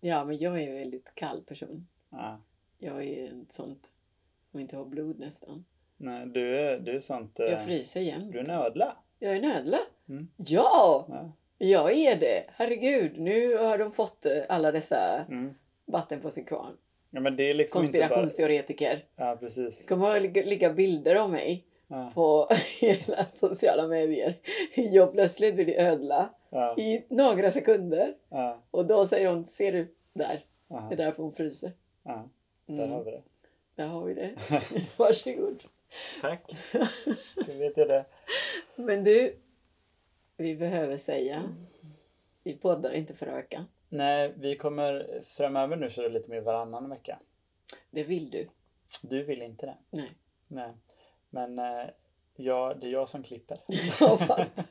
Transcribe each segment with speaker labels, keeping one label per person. Speaker 1: Ja, men jag är en väldigt kall person.
Speaker 2: Ja.
Speaker 1: Jag är ett sånt som inte har blod nästan.
Speaker 2: Nej, du är, du är sånt... eh,
Speaker 1: Jag fryser jämt.
Speaker 2: Du är en ödla.
Speaker 1: Jag är en ödla.
Speaker 2: Mm.
Speaker 1: Ja!
Speaker 2: Ja.
Speaker 1: Jag är det! Herregud, nu har de fått eh, alla dessa
Speaker 2: Mm.
Speaker 1: vatten på sin kvarn.
Speaker 2: ja, men det är liksom inte bara...
Speaker 1: Konspirationsteoretiker.
Speaker 2: Ja,
Speaker 1: Det
Speaker 2: precis.
Speaker 1: kommer att ligga- ligga bilder av mig
Speaker 2: Ja.
Speaker 1: på hela sociala medier. Jag plötsligt blir ödla
Speaker 2: Ja.
Speaker 1: i några sekunder.
Speaker 2: Ja.
Speaker 1: Och då säger hon, ser du där?
Speaker 2: Ja.
Speaker 1: Det är därför hon fryser.
Speaker 2: Ja. Där har
Speaker 1: Mm,
Speaker 2: vi det.
Speaker 1: där har vi det. Varsågod.
Speaker 2: Tack. Då vet jag det.
Speaker 1: Men du, vi behöver säga, vi poddar inte förra veckan.
Speaker 2: Nej, vi kommer framöver nu köra lite mer varannan vecka.
Speaker 1: Det vill du.
Speaker 2: Du vill inte det.
Speaker 1: Nej.
Speaker 2: Nej. Men eh, ja, det är jag som klipper.
Speaker 1: Jag fattar.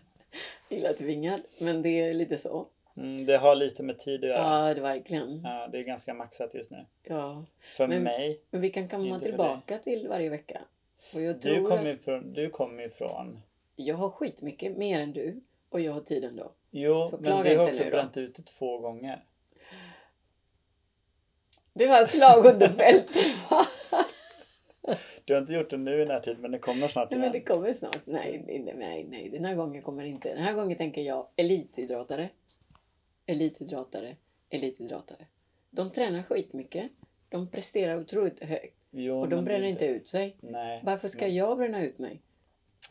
Speaker 1: Illa tvingad, men det är lite så.
Speaker 2: Mm, det har lite med tid att göra.
Speaker 1: Ja, det verkligen.
Speaker 2: Ja, det är ganska maxat just nu.
Speaker 1: Ja.
Speaker 2: För
Speaker 1: Men-
Speaker 2: mig.
Speaker 1: Men vi kan komma
Speaker 2: Inte för
Speaker 1: tillbaka till varje vecka. Och jag
Speaker 2: Du
Speaker 1: tror
Speaker 2: kommer
Speaker 1: att
Speaker 2: ju från... Du kommer ju från
Speaker 1: jag har skitmycket mer än du och jag har tid ändå.
Speaker 2: jo,
Speaker 1: Så klaga
Speaker 2: men du har
Speaker 1: inte
Speaker 2: också
Speaker 1: nu då.
Speaker 2: bränt ut det två gånger.
Speaker 1: Det var slag under bältet va?
Speaker 2: Du har inte gjort det nu i närtid, men det kommer snart
Speaker 1: Nej men det
Speaker 2: igen.
Speaker 1: kommer snart. Nej, nej, nej, nej. Den här gången kommer det inte. Den här gången tänker jag elitidrottare. Elitidrottare. Elitidrottare. De tränar skitmycket. De presterar otroligt högt.
Speaker 2: Jo,
Speaker 1: Och de
Speaker 2: men det är
Speaker 1: bränner inte ut sig.
Speaker 2: Nej.
Speaker 1: Varför ska
Speaker 2: men-
Speaker 1: jag bränna ut mig?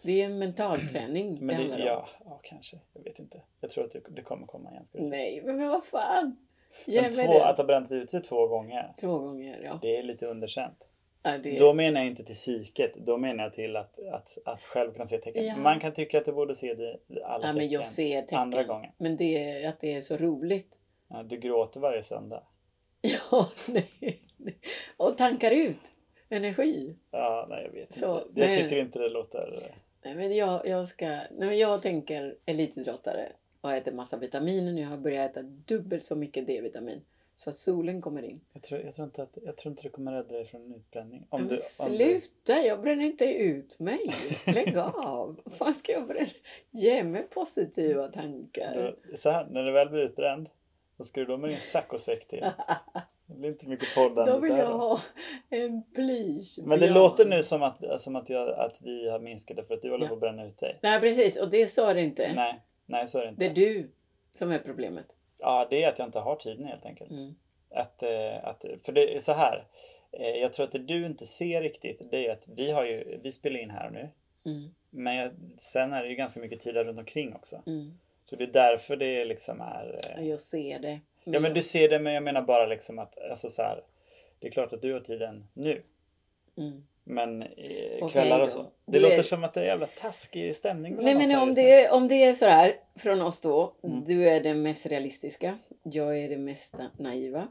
Speaker 1: Det är en mental träning det
Speaker 2: Men
Speaker 1: handlar
Speaker 2: det,
Speaker 1: om.
Speaker 2: ja, ja, kanske. Jag vet inte. Jag tror att det, det kommer komma igen. Ska vi se.
Speaker 1: Nej, men vad fan! Ge
Speaker 2: Men
Speaker 1: mig
Speaker 2: två,
Speaker 1: den.
Speaker 2: att ha bränt ut sig två gånger,
Speaker 1: Två gånger, ja.
Speaker 2: det är lite underkänt.
Speaker 1: ja det...
Speaker 2: Då menar jag inte till psyket, då menar jag till att, att, att själv kunna se tecken.
Speaker 1: Ja.
Speaker 2: Man kan tycka att du borde se det i alla
Speaker 1: ja, men
Speaker 2: tecken.
Speaker 1: jag ser tecken.
Speaker 2: Andra gången.
Speaker 1: Men det är att det är så roligt.
Speaker 2: Ja, du gråter varje söndag.
Speaker 1: Ja, nej. nej. Och tankar ut energi.
Speaker 2: Ja, nej, jag vet
Speaker 1: Så,
Speaker 2: inte. Jag
Speaker 1: men-
Speaker 2: tycker inte det låter...
Speaker 1: Nej, men jag, jag ska... Nej, men jag tänker elitidrottare och äter massa vitaminer nu. Jag har börjat äta dubbelt så mycket D-vitamin. Så att solen kommer in.
Speaker 2: Jag tror, jag tror, inte, att, jag tror inte du kommer rädda dig från en utbränning.
Speaker 1: Ja, men
Speaker 2: du, du,
Speaker 1: sluta! Jag bränner inte ut mig. Lägg av! Vad fan ska jag bränna? Ge mig positiva tankar.
Speaker 2: du, så här, när du väl blir utbränd, då ska du då med din saccosäck till. Det blir inte mycket poddande
Speaker 1: Då vill
Speaker 2: där
Speaker 1: jag ha en plysch.
Speaker 2: Men det
Speaker 1: pyjamas.
Speaker 2: låter nu som att, som att, jag, att vi har minskat det för att du håller
Speaker 1: Ja.
Speaker 2: på att bränna ut dig.
Speaker 1: Nej precis, och det sa det inte.
Speaker 2: Nej, nej så är det inte.
Speaker 1: Det är du som är problemet.
Speaker 2: Ja, det är att jag inte har tiden helt enkelt.
Speaker 1: Mm.
Speaker 2: Att, eh, att, för det är så här. eh, Jag tror att det du inte ser riktigt, det är att vi, har ju, vi spelar in här nu.
Speaker 1: Mm.
Speaker 2: Men jag, sen är det ju ganska mycket tid där runt omkring också.
Speaker 1: Mm.
Speaker 2: Så det är därför det liksom är...
Speaker 1: Ja,
Speaker 2: eh,
Speaker 1: Jag ser det.
Speaker 2: Ja
Speaker 1: Mm.
Speaker 2: men du ser det, men jag menar bara liksom att, alltså så här. Det är klart att du har tiden nu.
Speaker 1: Mm.
Speaker 2: Men eh,
Speaker 1: Okej
Speaker 2: kvällar
Speaker 1: då.
Speaker 2: och så. Det
Speaker 1: Du är-
Speaker 2: låter som att det är jävla taskig stämning mellan
Speaker 1: Nej
Speaker 2: oss
Speaker 1: men
Speaker 2: här
Speaker 1: om
Speaker 2: just nu.
Speaker 1: det, är, om det är sådär från oss då.
Speaker 2: Mm.
Speaker 1: Du är den mest realistiska. Jag är den mest naiva.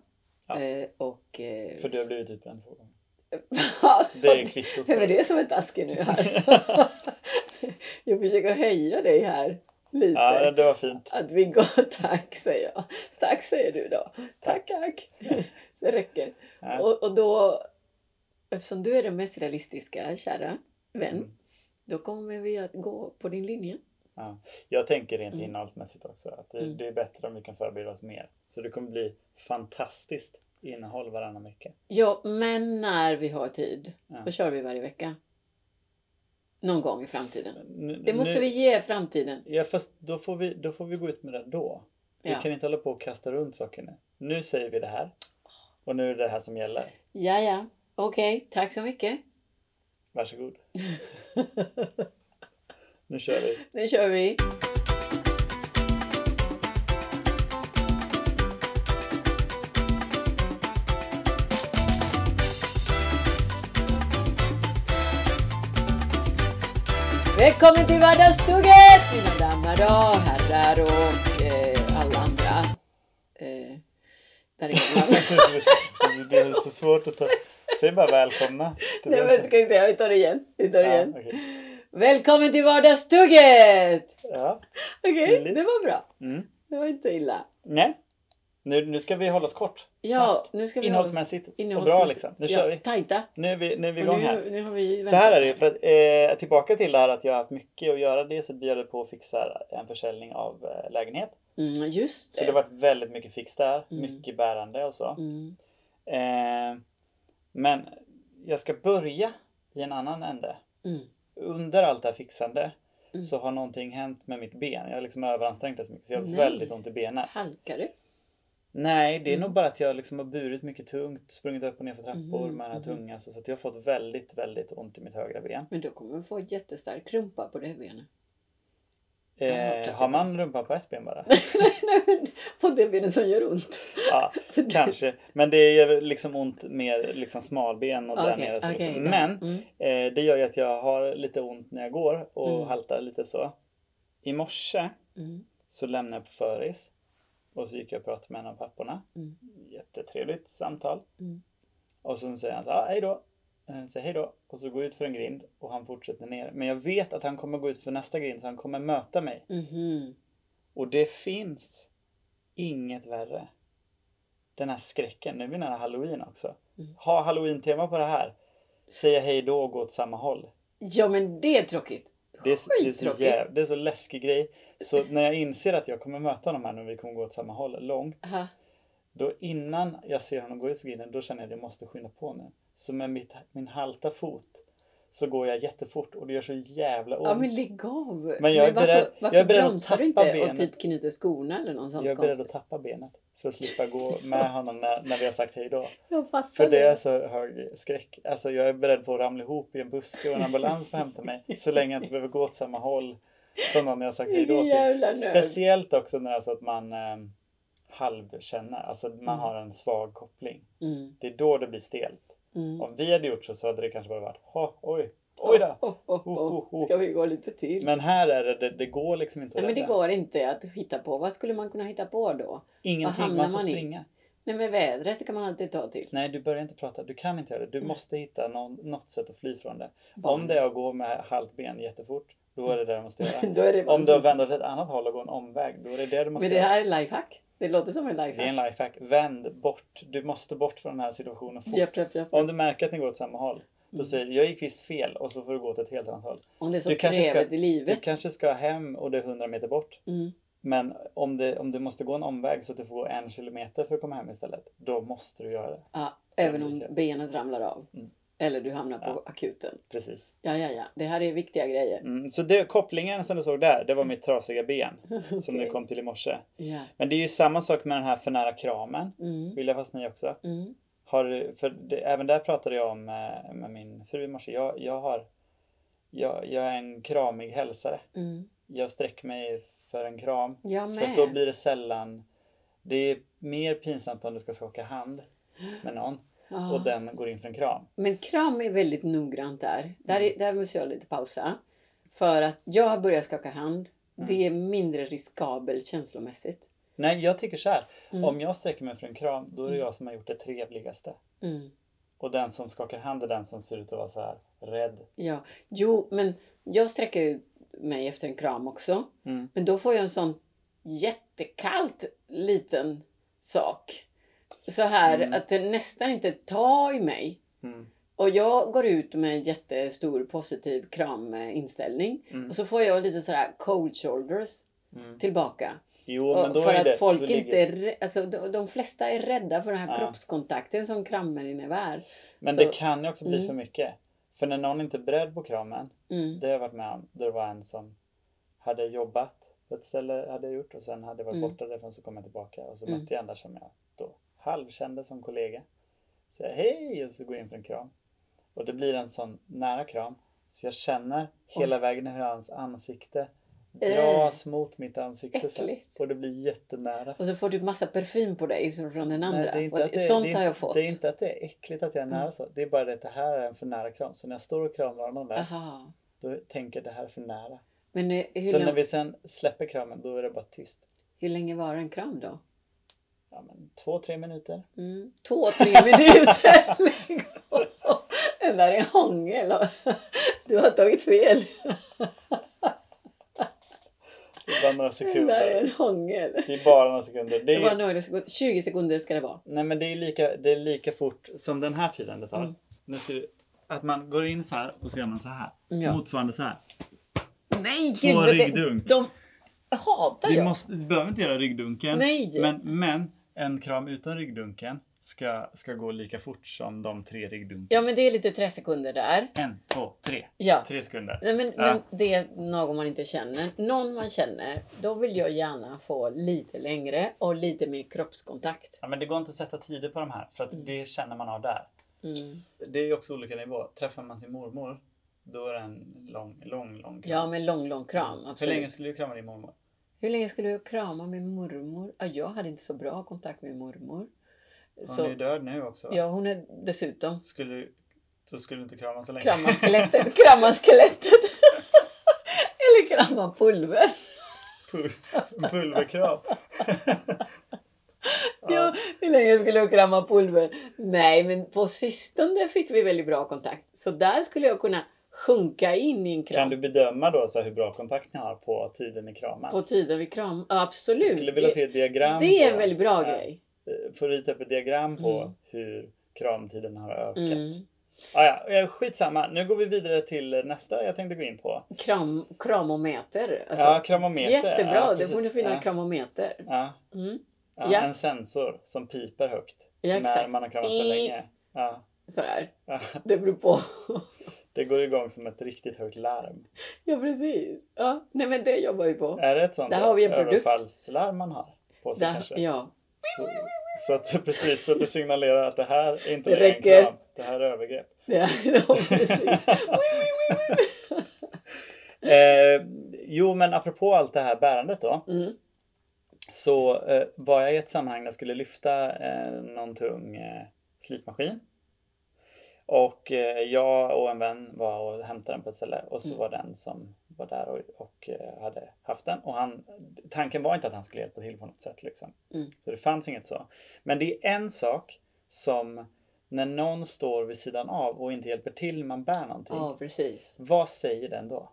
Speaker 2: Ja.
Speaker 1: Eh, och... Eh,
Speaker 2: För du har blivit utbränd två gånger. Det är
Speaker 1: det...
Speaker 2: kvittot. på
Speaker 1: Vem är det som är taskig nu här? jag försöker höja dig här. Lite.
Speaker 2: Ja, det var fint.
Speaker 1: Att vi går, tack säger jag. Tack säger du då. Tack, tack. Det räcker.
Speaker 2: Ja.
Speaker 1: Och, och då, eftersom du är den mest realistiska, kära vän,
Speaker 2: Mm.
Speaker 1: då kommer vi att gå på din linje.
Speaker 2: Jag tänker rent
Speaker 1: Mm.
Speaker 2: innehållsmässigt också att det,
Speaker 1: Mm.
Speaker 2: det är bättre om vi kan förbereda oss mer. Så det kommer bli fantastiskt innehåll varannan vecka.
Speaker 1: Ja, men när vi har tid,
Speaker 2: Ja.
Speaker 1: då kör vi varje vecka. Någon gång i framtiden.
Speaker 2: Nu,
Speaker 1: Det måste
Speaker 2: nu,
Speaker 1: vi ge framtiden.
Speaker 2: Ja, fast då får, vi, då får vi gå ut med det då. Vi
Speaker 1: Ja.
Speaker 2: kan inte hålla på och kasta runt saker nu. Nu säger vi det här. Och nu är det det här som gäller.
Speaker 1: Ja, ja. Okej, tack så mycket.
Speaker 2: Varsågod. nu kör vi.
Speaker 1: Nu kör vi. Välkommen till vardagsstuget mina damer och herrar och eh, alla andra. Eh, där är man.
Speaker 2: det är så svårt att ta... Säg bara välkomna. till
Speaker 1: Nej men
Speaker 2: vänster.
Speaker 1: ska vi se, vi tar det igen. Vi tar det igen.
Speaker 2: Ja, okej.
Speaker 1: Välkommen till vardagsstuget!
Speaker 2: ja.
Speaker 1: Okej,
Speaker 2: Stiligt.
Speaker 1: det var bra.
Speaker 2: Mm.
Speaker 1: Det var inte illa.
Speaker 2: Nej. Nu, nu ska vi hålla oss kort.
Speaker 1: Ja, nu ska vi hålla oss-
Speaker 2: Innehållsmässigt och
Speaker 1: Innehållsmässigt.
Speaker 2: bra liksom. Nu kör vi.
Speaker 1: Tajta.
Speaker 2: Nu är vi, nu är vi
Speaker 1: Och
Speaker 2: igång
Speaker 1: nu,
Speaker 2: här.
Speaker 1: nu har vi
Speaker 2: Så här
Speaker 1: väntat.
Speaker 2: är det ju, för att, eh, tillbaka till det här att jag har haft mycket att göra. Dels att vi håller på och fixar en försäljning av eh, lägenhet.
Speaker 1: Mm, just
Speaker 2: Så
Speaker 1: det.
Speaker 2: det har varit väldigt mycket fix där,
Speaker 1: Mm.
Speaker 2: mycket bärande och så.
Speaker 1: mm.
Speaker 2: Eh, men jag ska börja i en annan ände.
Speaker 1: Mm.
Speaker 2: Under allt det här fixande
Speaker 1: Mm.
Speaker 2: så har någonting hänt med mitt ben. Jag har liksom överansträngt det så mycket så jag har
Speaker 1: Nej.
Speaker 2: väldigt ont i benet.
Speaker 1: Halkar du?
Speaker 2: Nej, det är
Speaker 1: Mm.
Speaker 2: nog bara att jag liksom har burit mycket tungt, sprungit upp och ner för trappor
Speaker 1: Mhm,
Speaker 2: med den här
Speaker 1: mhm.
Speaker 2: tungan. Så, så att jag har fått väldigt, väldigt ont i mitt högra ben.
Speaker 1: Men då kommer du få jättestark rumpa på det benet. Jag har hört att
Speaker 2: Eh,
Speaker 1: det
Speaker 2: har
Speaker 1: var-
Speaker 2: man rumpan på ett ben bara?
Speaker 1: Nej, men på det benet som gör ont.
Speaker 2: ja, kanske. Men det gör liksom ont mer liksom smalben och där
Speaker 1: Okej,
Speaker 2: nere. Så
Speaker 1: okej,
Speaker 2: liksom.
Speaker 1: då.
Speaker 2: Men
Speaker 1: Mm.
Speaker 2: eh, det gör ju att jag har lite ont när jag går och
Speaker 1: Mm.
Speaker 2: haltar lite så. I morse
Speaker 1: Mm.
Speaker 2: så lämnade jag på föris och så gick jag och pratade med en av papporna.
Speaker 1: Mm.
Speaker 2: Jättetrevligt samtal.
Speaker 1: Mm.
Speaker 2: Och sen säger han så här, "Ah, hej då. Eh, Säger hej då och så går jag ut för en grind och han fortsätter ner. Men jag vet att han kommer gå ut för nästa grind så han kommer möta mig.
Speaker 1: Mhm.
Speaker 2: Och det finns inget värre. Den här skräcken, nu är vi nära halloween också.
Speaker 1: Mm.
Speaker 2: Ha halloween-tema på det här. Säga hej då och gå åt samma håll.
Speaker 1: Ja, men det är tråkigt.
Speaker 2: Det är, så- det, är så
Speaker 1: Skittråkigt.
Speaker 2: jäv, det är så läskig grej. Så när jag inser att jag kommer möta honom här nu, vi kommer gå åt samma håll långt.
Speaker 1: Aha.
Speaker 2: Då innan jag ser honom gå ut för grinden, då känner jag att jag måste skynda på nu. Så med mitt, min halta fot så går jag jättefort och det gör så jävla ont.
Speaker 1: Ja, men lägg av.
Speaker 2: Men jag är
Speaker 1: varför,
Speaker 2: beredd-
Speaker 1: varför
Speaker 2: jag är beredd att
Speaker 1: bromsar du
Speaker 2: tappa
Speaker 1: inte och
Speaker 2: benet.
Speaker 1: typ knyter skorna eller något sånt
Speaker 2: jag är beredd att
Speaker 1: konstigt?
Speaker 2: tappa benet för att slippa gå med honom när, när vi har sagt hej då.
Speaker 1: Jag fattar
Speaker 2: För det är så hög skräck. Alltså jag är beredd på att ramla ihop i en buske och en ambulans får hämta mig. Så länge jag inte behöver gå åt samma håll som någon jag har sagt hej då
Speaker 1: Vilken
Speaker 2: till.
Speaker 1: jävla nörd.
Speaker 2: Speciellt också när det är så att man eh, halvkänner, alltså man
Speaker 1: Mm.
Speaker 2: har en svag koppling.
Speaker 1: Mm,
Speaker 2: Det är då det blir stelt.
Speaker 1: mm.
Speaker 2: Om vi hade gjort så, så hade det kanske bara varit ha, oj, oj då.
Speaker 1: Oh, oh, oh,
Speaker 2: Oh, oh, oh.
Speaker 1: oh. Ska vi gå lite till?
Speaker 2: Men här är det, det, det går liksom inte
Speaker 1: Nej, men det
Speaker 2: rädda.
Speaker 1: går inte att hitta på. Vad skulle man kunna hitta på då? Vad
Speaker 2: Ingenting,
Speaker 1: hamnar
Speaker 2: man får
Speaker 1: man i?
Speaker 2: springa.
Speaker 1: Nej, men vädret det kan man alltid ta till.
Speaker 2: Nej, du börjar inte prata. Du kan inte göra det. Du måste hitta någon, något sätt att fly från det.
Speaker 1: Mm. Barn.
Speaker 2: Om det är att gå med halvt ben jättefort, då är det det du måste göra.
Speaker 1: Då är det
Speaker 2: Om du har vänder åt ett annat håll och går en omväg, då är det det du måste
Speaker 1: Mm. Men det
Speaker 2: göra.
Speaker 1: här är lifehack. Det låter som en
Speaker 2: Det är en
Speaker 1: lifehack.
Speaker 2: lifehack. Vänd bort. Du måste bort från den här situationen fort.
Speaker 1: Japp, japp, japp.
Speaker 2: Om du märker att ni går åt samma håll, då
Speaker 1: Mm.
Speaker 2: säger du jag gick visst fel och så får du gå åt ett helt annat håll.
Speaker 1: Om det är så
Speaker 2: Du kanske ska-
Speaker 1: krävet i
Speaker 2: Du
Speaker 1: livet.
Speaker 2: kanske ska hem och det är 100 meter bort.
Speaker 1: Mm.
Speaker 2: Men om, det, om du måste gå en omväg så att du får gå en kilometer för att komma hem istället, då måste du göra det.
Speaker 1: Ja, även om benet ramlar av.
Speaker 2: Mm.
Speaker 1: Eller du hamnar på
Speaker 2: Ja.
Speaker 1: akuten.
Speaker 2: Precis.
Speaker 1: Ja, ja, ja. Det här är viktiga grejer.
Speaker 2: Mm, så det, kopplingen som du såg där, det var mitt trasiga ben som du
Speaker 1: Okej.
Speaker 2: kom till i morse.
Speaker 1: Ja.
Speaker 2: Men det är ju samma sak med den här för nära kramen,
Speaker 1: Mm.
Speaker 2: vill jag fastna i också.
Speaker 1: Mm.
Speaker 2: Har, du- för det, även där pratade jag om eh, med min fru i morse. Jag, jag, har, jag, jag är en kramig hälsare.
Speaker 1: Mm.
Speaker 2: Jag sträcker mig för en kram.
Speaker 1: Jag
Speaker 2: För
Speaker 1: med.
Speaker 2: att då blir det sällan... Det är mer pinsamt om du ska skaka hand med någon
Speaker 1: Ja.
Speaker 2: och den går in för en kram.
Speaker 1: Men kram är väldigt noggrant där. Där,
Speaker 2: Mm.
Speaker 1: är, där måste jag lite pausa. För att jag börjar skaka hand.
Speaker 2: Mm.
Speaker 1: Det är mindre riskabelt känslomässigt.
Speaker 2: Nej, jag tycker så här.
Speaker 1: Mm.
Speaker 2: Om jag sträcker mig för en kram, då är det
Speaker 1: Mm.
Speaker 2: jag som har gjort det trevligaste.
Speaker 1: Mm.
Speaker 2: Och den som skakar hand är den som ser ut att vara så här rädd.
Speaker 1: Ja. Jo, men jag sträcker ut mig efter en kram också.
Speaker 2: Mm.
Speaker 1: Men då får jag en sån jättekallt liten sak. Så här
Speaker 2: Mm.
Speaker 1: att den nästan inte tar i mig.
Speaker 2: Mm.
Speaker 1: Och jag går ut med en jättestor positiv kraminställning.
Speaker 2: Mm.
Speaker 1: Och så får jag lite sådär cold shoulders
Speaker 2: Mm.
Speaker 1: tillbaka.
Speaker 2: Jo,
Speaker 1: Och
Speaker 2: men då
Speaker 1: för
Speaker 2: är
Speaker 1: att
Speaker 2: det...
Speaker 1: folk
Speaker 2: då
Speaker 1: inte är rä- alltså, de, de flesta är rädda för den här
Speaker 2: Ja.
Speaker 1: kroppskontakten som krammen innebär.
Speaker 2: Men
Speaker 1: Så-
Speaker 2: det kan ju också bli
Speaker 1: Mm.
Speaker 2: för mycket. För när någon inte är beredd på kramen,
Speaker 1: Mm.
Speaker 2: det har jag varit med om, då det var en som hade jobbat på ett ställe, hade jag gjort och sen hade jag varit
Speaker 1: Mm.
Speaker 2: borta därifrån så kom jag tillbaka och så
Speaker 1: Mm.
Speaker 2: mötte jag en där som jag då halvkände som kollega. Så jag hej och så går jag in för en kram. Och det blir en sån nära kram så jag känner hela vägen hur hans ansikte dras mot mitt ansikte så här.
Speaker 1: Eh. äckligt.
Speaker 2: och det blir jättenära.
Speaker 1: Och så får du massa parfym på dig som från den andra.
Speaker 2: Nej, det är inte
Speaker 1: Och
Speaker 2: att det,
Speaker 1: Sånt
Speaker 2: det är inte,
Speaker 1: har jag fått.
Speaker 2: Det är inte att det är äckligt att jag är nära
Speaker 1: Mm.
Speaker 2: så. Det är bara det att det här är en för nära kram. Så när jag står och kramar honom där,
Speaker 1: Aha.
Speaker 2: då tänker jag det här är för nära.
Speaker 1: Men eh, hur,
Speaker 2: så
Speaker 1: lång,
Speaker 2: när vi sen släpper kramen, då är det bara tyst.
Speaker 1: hur länge var en kram då?
Speaker 2: Ja, men två, tre minuter.
Speaker 1: Mm. Två, tre minuter. Lägg av. Det där är hångel. Du har tagit fel.
Speaker 2: Det är bara några
Speaker 1: Det där är en
Speaker 2: sekunder.
Speaker 1: hångel.
Speaker 2: Det är bara några sekunder. Det
Speaker 1: Det var
Speaker 2: är,
Speaker 1: några sekunder. 20 sekunder ska det vara.
Speaker 2: nej, men det är, lika, det är lika fort som den här tiden det tar.
Speaker 1: Mm.
Speaker 2: Nu ska du, att man går in så här och så gör man så här.
Speaker 1: Mm, Ja.
Speaker 2: Motsvarande så här.
Speaker 1: Nej,
Speaker 2: Två
Speaker 1: gud, vad det-
Speaker 2: ryggdunk.
Speaker 1: De, hatar
Speaker 2: Vi
Speaker 1: jag.
Speaker 2: måste, du behöver inte göra ryggdunken.
Speaker 1: Nej.
Speaker 2: Men, men en kram utan ryggdunken ska, ska gå lika fort som de tre ryggdunkarna.
Speaker 1: Ja, men det är lite tre sekunder där.
Speaker 2: En, två, tre.
Speaker 1: Ja.
Speaker 2: Tre sekunder.
Speaker 1: Nej, men,
Speaker 2: Typ. Ja.
Speaker 1: men det är någon man inte känner. Någon man känner, då vill jag gärna få lite längre och lite mer kroppskontakt.
Speaker 2: Ja, men det går inte att sätta tider på de här för att
Speaker 1: Mm.
Speaker 2: det känner man av där.
Speaker 1: Mm.
Speaker 2: Det är ju också olika nivå. Träffar man sin mormor, då är det en lång, lång, lång kram.
Speaker 1: Ja, men lång, lång kram. Absolut.
Speaker 2: Hur länge skulle du krama din mormor?
Speaker 1: Hur länge skulle jag krama min mormor? Ja, jag hade inte så bra kontakt med mormor.
Speaker 2: Hon
Speaker 1: Så,
Speaker 2: är ju död nu också. va?
Speaker 1: ja, hon är dessutom
Speaker 2: Skulle, du- så skulle du inte krama så länge.
Speaker 1: krama skelettet. Krama skelettet. Eller krama pulver.
Speaker 2: Pul- Pulverkram.
Speaker 1: Ja, hur länge skulle jag krama pulver? Nej, men på sistone fick vi väldigt bra kontakt. Så där skulle jag kunna sjunka in i en kram.
Speaker 2: Kan du bedöma då så här hur bra kontakt ni har på tiden ni kramas?
Speaker 1: På tiden vi kram. Ja, absolut.
Speaker 2: Jag skulle vilja se ett
Speaker 1: det,
Speaker 2: diagram.
Speaker 1: det är
Speaker 2: på-
Speaker 1: en väldigt bra
Speaker 2: ja,
Speaker 1: grej.
Speaker 2: eh, Få rita upp ett diagram på
Speaker 1: Mm.
Speaker 2: hur kramtiden har ökat.
Speaker 1: Mm.
Speaker 2: Ah, ja, eh, skitsamma, nu går vi vidare till nästa jag tänkte gå in på.
Speaker 1: Kram, kramometer. Alltså,
Speaker 2: ja, kramometer.
Speaker 1: jättebra,
Speaker 2: ja,
Speaker 1: det
Speaker 2: precis.
Speaker 1: borde finnas
Speaker 2: ja,
Speaker 1: kramometer.
Speaker 2: ja,
Speaker 1: Mm.
Speaker 2: ja,
Speaker 1: Ja.
Speaker 2: En sensor som piper högt
Speaker 1: Ja,
Speaker 2: när
Speaker 1: exakt.
Speaker 2: man har kramat för
Speaker 1: I-
Speaker 2: länge. Ja,
Speaker 1: Sådär.
Speaker 2: ja,
Speaker 1: Det beror på.
Speaker 2: det går igång som ett riktigt högt larm.
Speaker 1: ja, precis. Ja. Nej, men det jobbar vi på.
Speaker 2: Är det ett sånt
Speaker 1: Där har vi en produkt.
Speaker 2: överfallslarm man har på sig
Speaker 1: Där,
Speaker 2: kanske?
Speaker 1: ja.
Speaker 2: Så, så att, precis, så att det signalerar att det här är inte
Speaker 1: Det
Speaker 2: längre en
Speaker 1: räcker.
Speaker 2: kram, det här är övergrepp.
Speaker 1: Det, ja, precis.
Speaker 2: Eh, jo, men apropå allt det här bärandet då.
Speaker 1: Mm.
Speaker 2: Så eh, var jag i ett sammanhang där jag skulle lyfta eh, någon tung eh, slipmaskin. Och eh, jag och en vän var och hämtade den på ett ställe och så
Speaker 1: Mm.
Speaker 2: var den som var där och, och eh, hade haft den. Och han, tanken var inte att han skulle hjälpa till på något sätt. Liksom.
Speaker 1: Mm.
Speaker 2: Så det fanns inget så. Men det är en sak som när någon står vid sidan av och inte hjälper till när man bär någonting.
Speaker 1: ja, precis.
Speaker 2: Vad säger den då?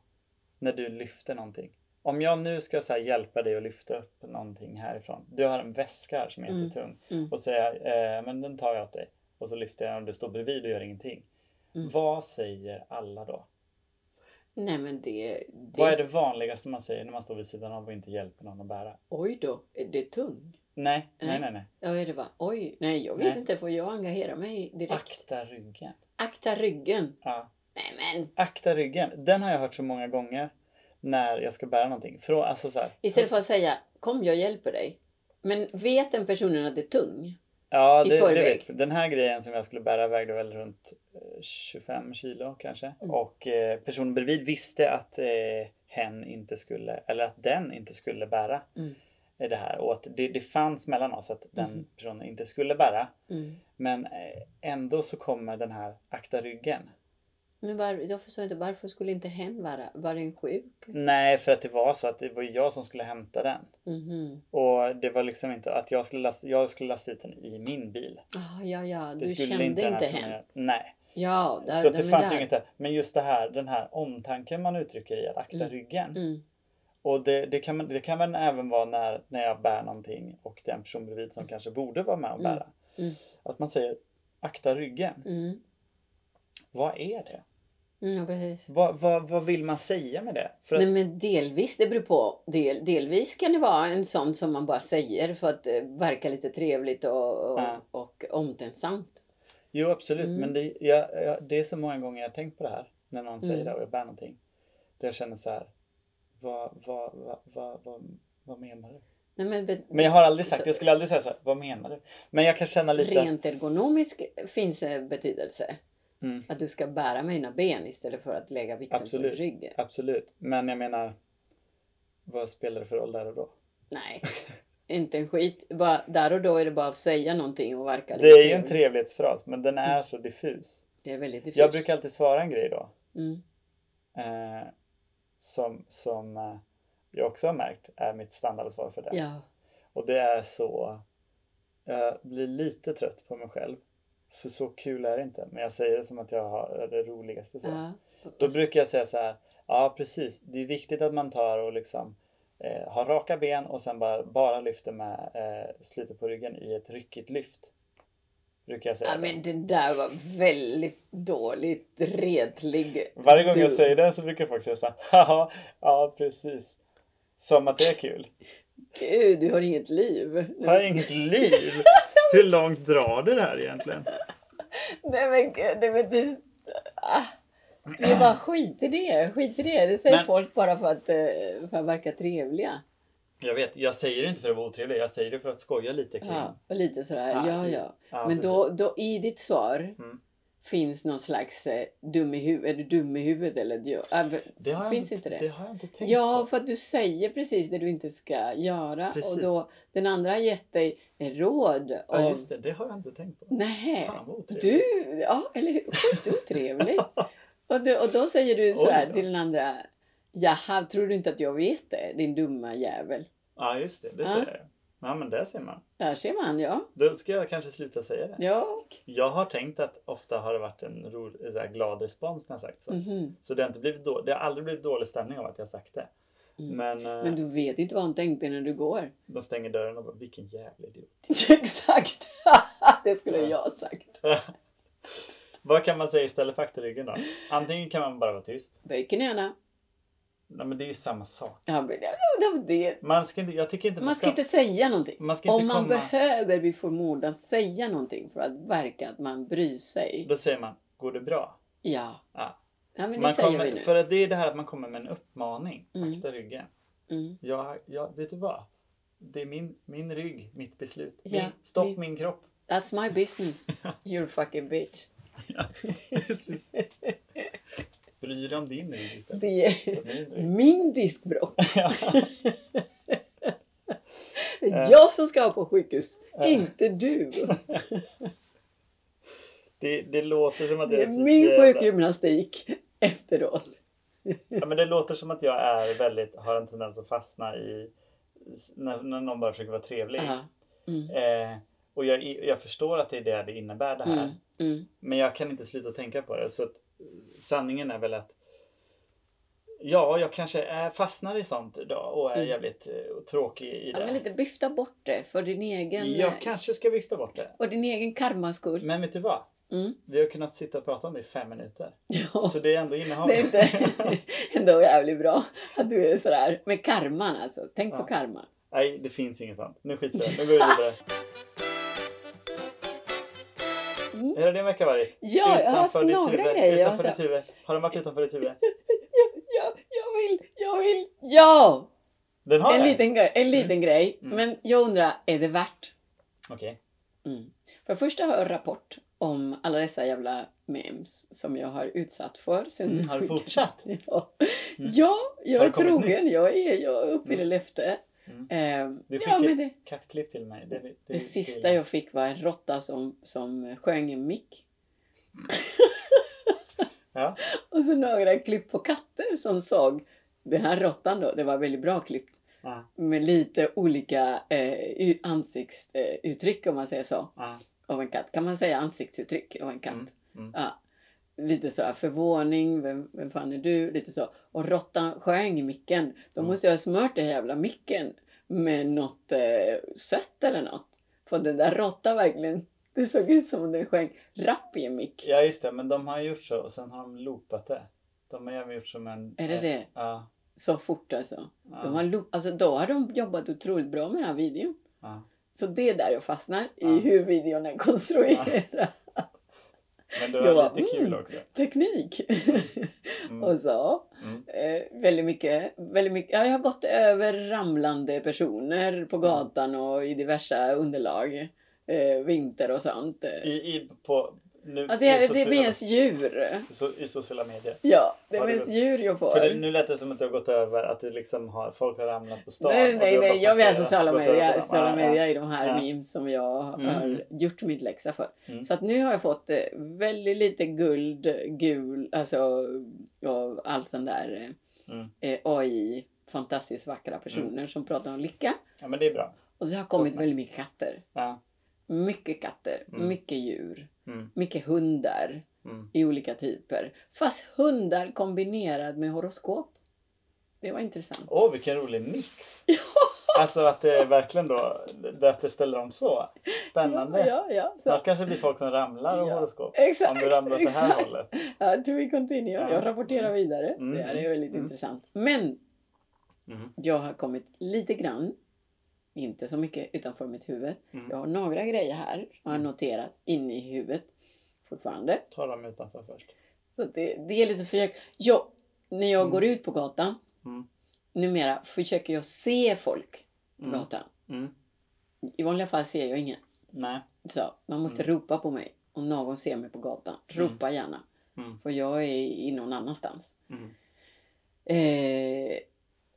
Speaker 2: När du lyfter någonting. Om jag nu ska så här, hjälpa dig att lyfta upp någonting härifrån. Du har en väska här som är
Speaker 1: Mm.
Speaker 2: jättetung.
Speaker 1: Mm.
Speaker 2: Och säger eh, men den tar jag åt dig. Och så lyfter jag den och du står bredvid och gör ingenting.
Speaker 1: Mm.
Speaker 2: Vad säger alla då?
Speaker 1: Nej, men det...
Speaker 2: Vad är det vanligaste man säger när man står vid sidan av och inte hjälper någon att bära?
Speaker 1: Oj då, är det tung?
Speaker 2: Nej, nej,
Speaker 1: Nej.
Speaker 2: nej. nej.
Speaker 1: Ja, är det bara, oj, nej, jag vet
Speaker 2: Nej.
Speaker 1: inte. Får jag engagera mig direkt?
Speaker 2: Akta ryggen.
Speaker 1: Akta ryggen.
Speaker 2: Ja.
Speaker 1: Nej, men
Speaker 2: Akta ryggen. Den har jag hört så många gånger. När jag ska bära någonting. Från, alltså så här,
Speaker 1: Istället för att säga kom jag hjälper dig. Men vet den personen att det är tung?
Speaker 2: Ja,
Speaker 1: i
Speaker 2: det, det
Speaker 1: förväg.
Speaker 2: vet jag. Den här grejen som jag skulle bära vägde väl runt eh, 25 kilo kanske.
Speaker 1: Mm.
Speaker 2: Och eh, personen bredvid visste att eh, hen inte skulle, eller att den inte skulle bära
Speaker 1: Mm.
Speaker 2: eh, det här. Och att det, det fanns mellan oss att den
Speaker 1: Mhm.
Speaker 2: personen inte skulle bära.
Speaker 1: Mm.
Speaker 2: Men eh, ändå så kommer den här akta ryggen.
Speaker 1: Men var, jag förstår inte, varför skulle inte hen vara? Var den sjuk?
Speaker 2: Nej, för att det var så att det var jag som skulle hämta den.
Speaker 1: Mhm.
Speaker 2: Och det var liksom inte att jag skulle lasta, jag skulle lasta ut den i min bil.
Speaker 1: Ah, ja, ja,
Speaker 2: Det
Speaker 1: du
Speaker 2: skulle
Speaker 1: kände
Speaker 2: inte
Speaker 1: inte,
Speaker 2: den här personen
Speaker 1: hen.
Speaker 2: göra. Nej.
Speaker 1: Ja, där,
Speaker 2: så att
Speaker 1: där,
Speaker 2: det
Speaker 1: men
Speaker 2: fanns
Speaker 1: där.
Speaker 2: ju inget där. Men just det här, den här omtanken man uttrycker i att akta
Speaker 1: Mm.
Speaker 2: ryggen.
Speaker 1: Mm.
Speaker 2: Och det, det, kan, man- det kan man även vara när, när jag bär någonting och det är en person bredvid som kanske borde vara med och
Speaker 1: Mm.
Speaker 2: bära.
Speaker 1: Mm.
Speaker 2: Att man säger akta ryggen.
Speaker 1: Mm.
Speaker 2: Vad är det?
Speaker 1: Mm, ja, precis.
Speaker 2: Vad, vad, vad vill man säga med det? För att,
Speaker 1: Nej, men delvis, det beror på. Del, delvis kan det vara en sån som man bara säger för att eh, verka lite trevligt och, och,
Speaker 2: Ja.
Speaker 1: och omtänksamt.
Speaker 2: Jo absolut,
Speaker 1: Mm.
Speaker 2: men det, jag, jag, det är så många gånger jag har tänkt på det här. När någon säger
Speaker 1: Mm.
Speaker 2: det och jag bär någonting. Där jag känner så här. Vad, vad, vad, vad, vad, vad menar du?
Speaker 1: Nej, men, be-
Speaker 2: Men jag har aldrig sagt,
Speaker 1: Så-
Speaker 2: jag skulle aldrig säga så här, vad menar du? Men jag kan känna lite att-
Speaker 1: Rent ergonomisk finns eh, betydelse.
Speaker 2: Mm.
Speaker 1: Att du ska bära mina ben istället för att lägga vikten
Speaker 2: Absolut.
Speaker 1: på ryggen.
Speaker 2: Absolut, men jag menar vad spelar det för roll där och då?
Speaker 1: Nej, inte en skit. Bara, där och då är det bara att säga någonting och verka
Speaker 2: Det är ju en
Speaker 1: trevlig.
Speaker 2: trevlighetsfras men den är så diffus.
Speaker 1: Det är väldigt diffust.
Speaker 2: Jag brukar alltid svara en grej då
Speaker 1: Mm.
Speaker 2: eh, som, som eh, jag också har märkt är mitt standardsvar för det.
Speaker 1: Ja.
Speaker 2: Och det är så, jag blir lite trött på mig själv för så kul är det inte men jag säger det som att jag har det roligaste. Så.
Speaker 1: ja.
Speaker 2: Då brukar jag säga så här. Ja precis, det är viktigt att man tar och liksom eh, har raka ben och sen bara, bara lyfter med eh, slutet på ryggen i ett ryckigt lyft. Brukar jag säga.
Speaker 1: ja,
Speaker 2: då.
Speaker 1: men det där var väldigt dåligt redlig.
Speaker 2: Varje gång
Speaker 1: du.
Speaker 2: jag säger det så brukar folk säga så här. Haha, ja precis. Som att det är kul.
Speaker 1: Gud, du har inget liv.
Speaker 2: Jag har inget liv. Hur långt drar du det här egentligen?
Speaker 1: Nej men gud, det är väl typ... Ah, det är bara skit i det. Skit i det. Det säger
Speaker 2: Men-
Speaker 1: folk bara för att, eh, för att verka trevliga.
Speaker 2: Jag vet, jag säger det inte för att vara otrevlig. Jag säger det för att skoja lite kring.
Speaker 1: Ja, och lite sådär,
Speaker 2: Ja,
Speaker 1: ja
Speaker 2: det-
Speaker 1: ja.
Speaker 2: Ja,
Speaker 1: Men då, då i ditt svar
Speaker 2: Mm.
Speaker 1: finns någon slags eh, dum i huvudet, är du dum i huvudet eller? Du, ah, men-
Speaker 2: Det har jag
Speaker 1: Finns inte det?
Speaker 2: Det har jag inte tänkt
Speaker 1: ja,
Speaker 2: på.
Speaker 1: för att du säger precis det du inte ska göra
Speaker 2: Precis.
Speaker 1: och då den andra har gett dig råd om...
Speaker 2: Ja, just det. Det har jag inte tänkt på.
Speaker 1: Nej.
Speaker 2: Fan vad otrevligt.
Speaker 1: Du, ja eller hur? Sjukt otrevlig. och, du, och då säger du så här
Speaker 2: Oj då.
Speaker 1: till den andra. Jaha, tror du inte att jag vet det? Din dumma jävel.
Speaker 2: Ja, just det. Det
Speaker 1: Ja.
Speaker 2: säger jag. Ja, men det ser man.
Speaker 1: Där ser man, ja.
Speaker 2: Då ska jag kanske sluta säga det.
Speaker 1: Ja.
Speaker 2: Jag har tänkt att ofta har det varit en ro, så här glad respons när jag sagt så.
Speaker 1: Mhm.
Speaker 2: Så det har, inte blivit då, det har aldrig blivit dålig stämning av att jag sagt det.
Speaker 1: Mm.
Speaker 2: Men, eh,
Speaker 1: Men du vet inte vad hon tänkte när du går.
Speaker 2: de stänger dörren och bara, vilken jävla idiot.
Speaker 1: Exakt! det skulle
Speaker 2: Ja.
Speaker 1: jag ha sagt.
Speaker 2: Vad kan man säga istället för akta ryggen då? Antingen kan man bara vara tyst.
Speaker 1: Böj knäna.
Speaker 2: Nej men det är ju samma sak.
Speaker 1: Ja, men det- det- det-
Speaker 2: Man ska inte, jag tycker inte
Speaker 1: Man ska inte säga någonting.
Speaker 2: man ska
Speaker 1: Om
Speaker 2: inte
Speaker 1: man
Speaker 2: komma...
Speaker 1: behöver vid förmodan säga någonting för att verka att man bryr sig.
Speaker 2: Då säger man, går det bra?
Speaker 1: Ja.
Speaker 2: Ja.
Speaker 1: Ja, men det
Speaker 2: man
Speaker 1: säger
Speaker 2: kommer,
Speaker 1: vi nu.
Speaker 2: För att det är det här att man kommer med en uppmaning.
Speaker 1: Mm.
Speaker 2: Akta ryggen.
Speaker 1: Mm.
Speaker 2: Jag, jag, vet du vad? Det är min, min rygg, mitt beslut.
Speaker 1: Ja,
Speaker 2: min, stopp
Speaker 1: vi-
Speaker 2: min kropp.
Speaker 1: That's my business. You're fucking bitch.
Speaker 2: Precis. Bry dig om din rygg istället.
Speaker 1: Det är
Speaker 2: Min rygg.
Speaker 1: min diskbråck.
Speaker 2: Ja. Eh.
Speaker 1: Det är jag som ska på sjukhus,
Speaker 2: Ja.
Speaker 1: inte du.
Speaker 2: Det, det låter som att jag
Speaker 1: Det är
Speaker 2: så
Speaker 1: min
Speaker 2: jävla-
Speaker 1: sjukgymnastik efteråt.
Speaker 2: Ja, men det låter som att jag är väldigt, har en tendens att fastna i när, när någon bara försöker vara trevlig.
Speaker 1: Ja. Mm.
Speaker 2: Eh, och jag, jag förstår att det är det det innebär det här.
Speaker 1: Mm. Mm.
Speaker 2: Men jag kan inte sluta tänka på det. Så att, eh, sanningen är väl att ja, jag kanske är, fastnar i sånt idag och är
Speaker 1: Mm.
Speaker 2: jävligt eh, tråkig i
Speaker 1: Ja, men
Speaker 2: det.
Speaker 1: lite vifta bort det för din egen... eh,
Speaker 2: jag kanske ska vifta bort det.
Speaker 1: Och din egen karmas skull.
Speaker 2: Men vet du vad?
Speaker 1: Mm.
Speaker 2: Vi har kunnat sitta och prata om det i fem minuter.
Speaker 1: Ja.
Speaker 2: Så det är ändå innehåll.
Speaker 1: Det är inte ändå jävligt bra att du är sådär. Men karman alltså. Tänk
Speaker 2: Ja.
Speaker 1: på karma.
Speaker 2: Nej, det finns inget sånt. Nu skiter jag i det. Nu går vi vidare.
Speaker 1: Mm.
Speaker 2: Hur har din vecka varit?
Speaker 1: Ja, jag har haft
Speaker 2: ditt
Speaker 1: några
Speaker 2: huvud,
Speaker 1: grejer. Jag har
Speaker 2: Utanför
Speaker 1: så-
Speaker 2: ditt huvud. Har den varit utanför ditt huvud?
Speaker 1: Ja, ja, jag vill, jag vill, ja!
Speaker 2: Den har
Speaker 1: En
Speaker 2: det?
Speaker 1: liten, gre- en liten grej.
Speaker 2: Mm.
Speaker 1: Men jag undrar, är det värt?
Speaker 2: Okej.
Speaker 1: Mm. För först har jag en rapport om alla dessa jävla memes som jag har utsatt för. Sen
Speaker 2: Mm, har du
Speaker 1: skickade-
Speaker 2: fortsatt?
Speaker 1: Ja,
Speaker 2: Mm.
Speaker 1: ja jag
Speaker 2: Har
Speaker 1: är
Speaker 2: det kommit
Speaker 1: trogen. Jag, är, jag uppfyller löfte.
Speaker 2: Mm.
Speaker 1: Ehm,
Speaker 2: Du
Speaker 1: ja,
Speaker 2: skickar-
Speaker 1: men det,
Speaker 2: Kattklipp till mig. Det, det, det,
Speaker 1: det sista jag fick var en råtta som, som sjöng i mick.
Speaker 2: Ja.
Speaker 1: Och så några klipp på katter som såg den här råttan då. Det var väldigt bra klippt.
Speaker 2: Ja,
Speaker 1: Med lite olika eh, ansiktsuttryck om man säger så.
Speaker 2: ja.
Speaker 1: Av en katt. Kan man säga ansiktsuttryck av en katt?
Speaker 2: Mm, mm.
Speaker 1: Ja. Lite så här förvåning, vem, vem fan är du? Lite så. Och råttan sjöng i micken. Då
Speaker 2: Mm.
Speaker 1: måste jag ha smört den jävla micken med något eh, sött eller något. För den där råttan verkligen, det såg ut som om den sjöng rapp i en mick.
Speaker 2: ja, just det. Men de har gjort så och sen har de loopat det. De har även gjort som en...
Speaker 1: Är det det?
Speaker 2: Ja.
Speaker 1: Så fort alltså.
Speaker 2: ja,
Speaker 1: De har, lo- alltså då har de jobbat otroligt bra med den här videon.
Speaker 2: ja.
Speaker 1: Så det är där jag fastnar
Speaker 2: Ja.
Speaker 1: i hur videon är konstruerad.
Speaker 2: Men det
Speaker 1: Jag
Speaker 2: var
Speaker 1: bara,
Speaker 2: lite kul
Speaker 1: mm.
Speaker 2: också.
Speaker 1: Teknik.
Speaker 2: Mm.
Speaker 1: och så.
Speaker 2: Mm.
Speaker 1: Eh, väldigt mycket, väldigt mycket. Ja, jag har gått över ramlande personer
Speaker 2: Mm.
Speaker 1: på gatan och i diverse underlag. Eh, vinter och sånt. Eh,
Speaker 2: I, i, på, nu,
Speaker 1: Alltså, det,
Speaker 2: i,
Speaker 1: det
Speaker 2: sociala,
Speaker 1: finns djur.
Speaker 2: so, I sociala medier.
Speaker 1: Ja, det
Speaker 2: Har du
Speaker 1: finns
Speaker 2: gått-
Speaker 1: djur jag
Speaker 2: För det,
Speaker 1: får.
Speaker 2: nu lät det som att du har gått över, att du liksom har, folk har ramlat på stan.
Speaker 1: Nej,
Speaker 2: och
Speaker 1: nej,
Speaker 2: du
Speaker 1: nej.
Speaker 2: har bara
Speaker 1: Jag alltså menar
Speaker 2: passerat,
Speaker 1: sociala
Speaker 2: gått över
Speaker 1: medier,
Speaker 2: dem.
Speaker 1: sociala
Speaker 2: Ja,
Speaker 1: medier i de här
Speaker 2: Ja.
Speaker 1: memes som jag
Speaker 2: Mm.
Speaker 1: har gjort min läxa för.
Speaker 2: Mm.
Speaker 1: Så att nu har jag fått eh, väldigt lite guld, gul, alltså av allt sånt där
Speaker 2: Ja. Mm.
Speaker 1: eh, AI, fantastiskt vackra personer som pratar om lycka.
Speaker 2: ja, men det är bra.
Speaker 1: Och så har kommit
Speaker 2: Toppen.
Speaker 1: väldigt mycket katter.
Speaker 2: Ja.
Speaker 1: Mycket katter,
Speaker 2: Mm.
Speaker 1: mycket djur,
Speaker 2: Mm.
Speaker 1: mycket hundar
Speaker 2: Mm.
Speaker 1: i olika typer. Fast hundar kombinerat med horoskop. Det var intressant.
Speaker 2: Åh, vilken rolig mix! Alltså att det verkligen då, det- att det ställer om så. Spännande.
Speaker 1: Ja, ja, ja. Så.
Speaker 2: Snart kanske det blir folk som ramlar och
Speaker 1: Ja.
Speaker 2: horoskop. Om
Speaker 1: Exakt,
Speaker 2: du ramlar åt det här
Speaker 1: exakt.
Speaker 2: hållet.
Speaker 1: Ja, to be continue.
Speaker 2: Ja.
Speaker 1: Jag rapporterar vidare.
Speaker 2: Mm,
Speaker 1: Det här är
Speaker 2: mm,
Speaker 1: väldigt
Speaker 2: mm.
Speaker 1: intressant. Men
Speaker 2: Mm.
Speaker 1: Jag har kommit lite grann, inte så mycket utanför mitt huvud.
Speaker 2: Mm.
Speaker 1: Jag har några grejer här, har jag noterat, inne i huvudet fortfarande.
Speaker 2: Ta dem utanför först.
Speaker 1: Så det, det är lite försök. Jag, när jag
Speaker 2: Mm.
Speaker 1: går ut på gatan,
Speaker 2: Mm.
Speaker 1: numera försöker jag se folk på
Speaker 2: Mm.
Speaker 1: gatan.
Speaker 2: Mm.
Speaker 1: I vanliga fall ser jag ingen.
Speaker 2: Nej.
Speaker 1: Så man måste ropa på mig om någon ser mig på gatan. Ropa gärna.
Speaker 2: Mm.
Speaker 1: För jag är i någon annanstans.
Speaker 2: Mm.
Speaker 1: Eh,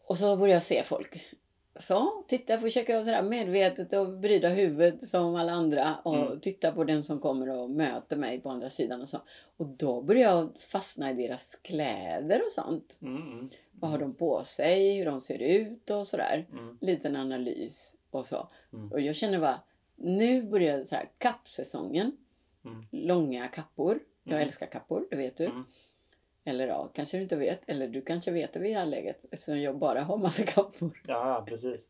Speaker 1: och så börjar jag se folk. Så, titta, försöker jag sådär medvetet och bryda huvudet som alla andra och
Speaker 2: Mm.
Speaker 1: titta på den som kommer och möter mig på andra sidan och så. Och då börjar jag fastna i deras kläder och sånt.
Speaker 2: Mm. Mm.
Speaker 1: Vad har de på sig, hur de ser ut och sådär.
Speaker 2: Mm.
Speaker 1: Liten analys och så.
Speaker 2: Mm.
Speaker 1: Och jag känner bara, nu börjar så här kappsäsongen.
Speaker 2: Mm.
Speaker 1: Långa kappor. Jag
Speaker 2: Mm.
Speaker 1: älskar kappor, det vet du.
Speaker 2: Mm.
Speaker 1: Eller ja, kanske du inte vet. Eller du kanske vet det vid det här läget eftersom jag bara har massa kappor.
Speaker 2: Ja, precis.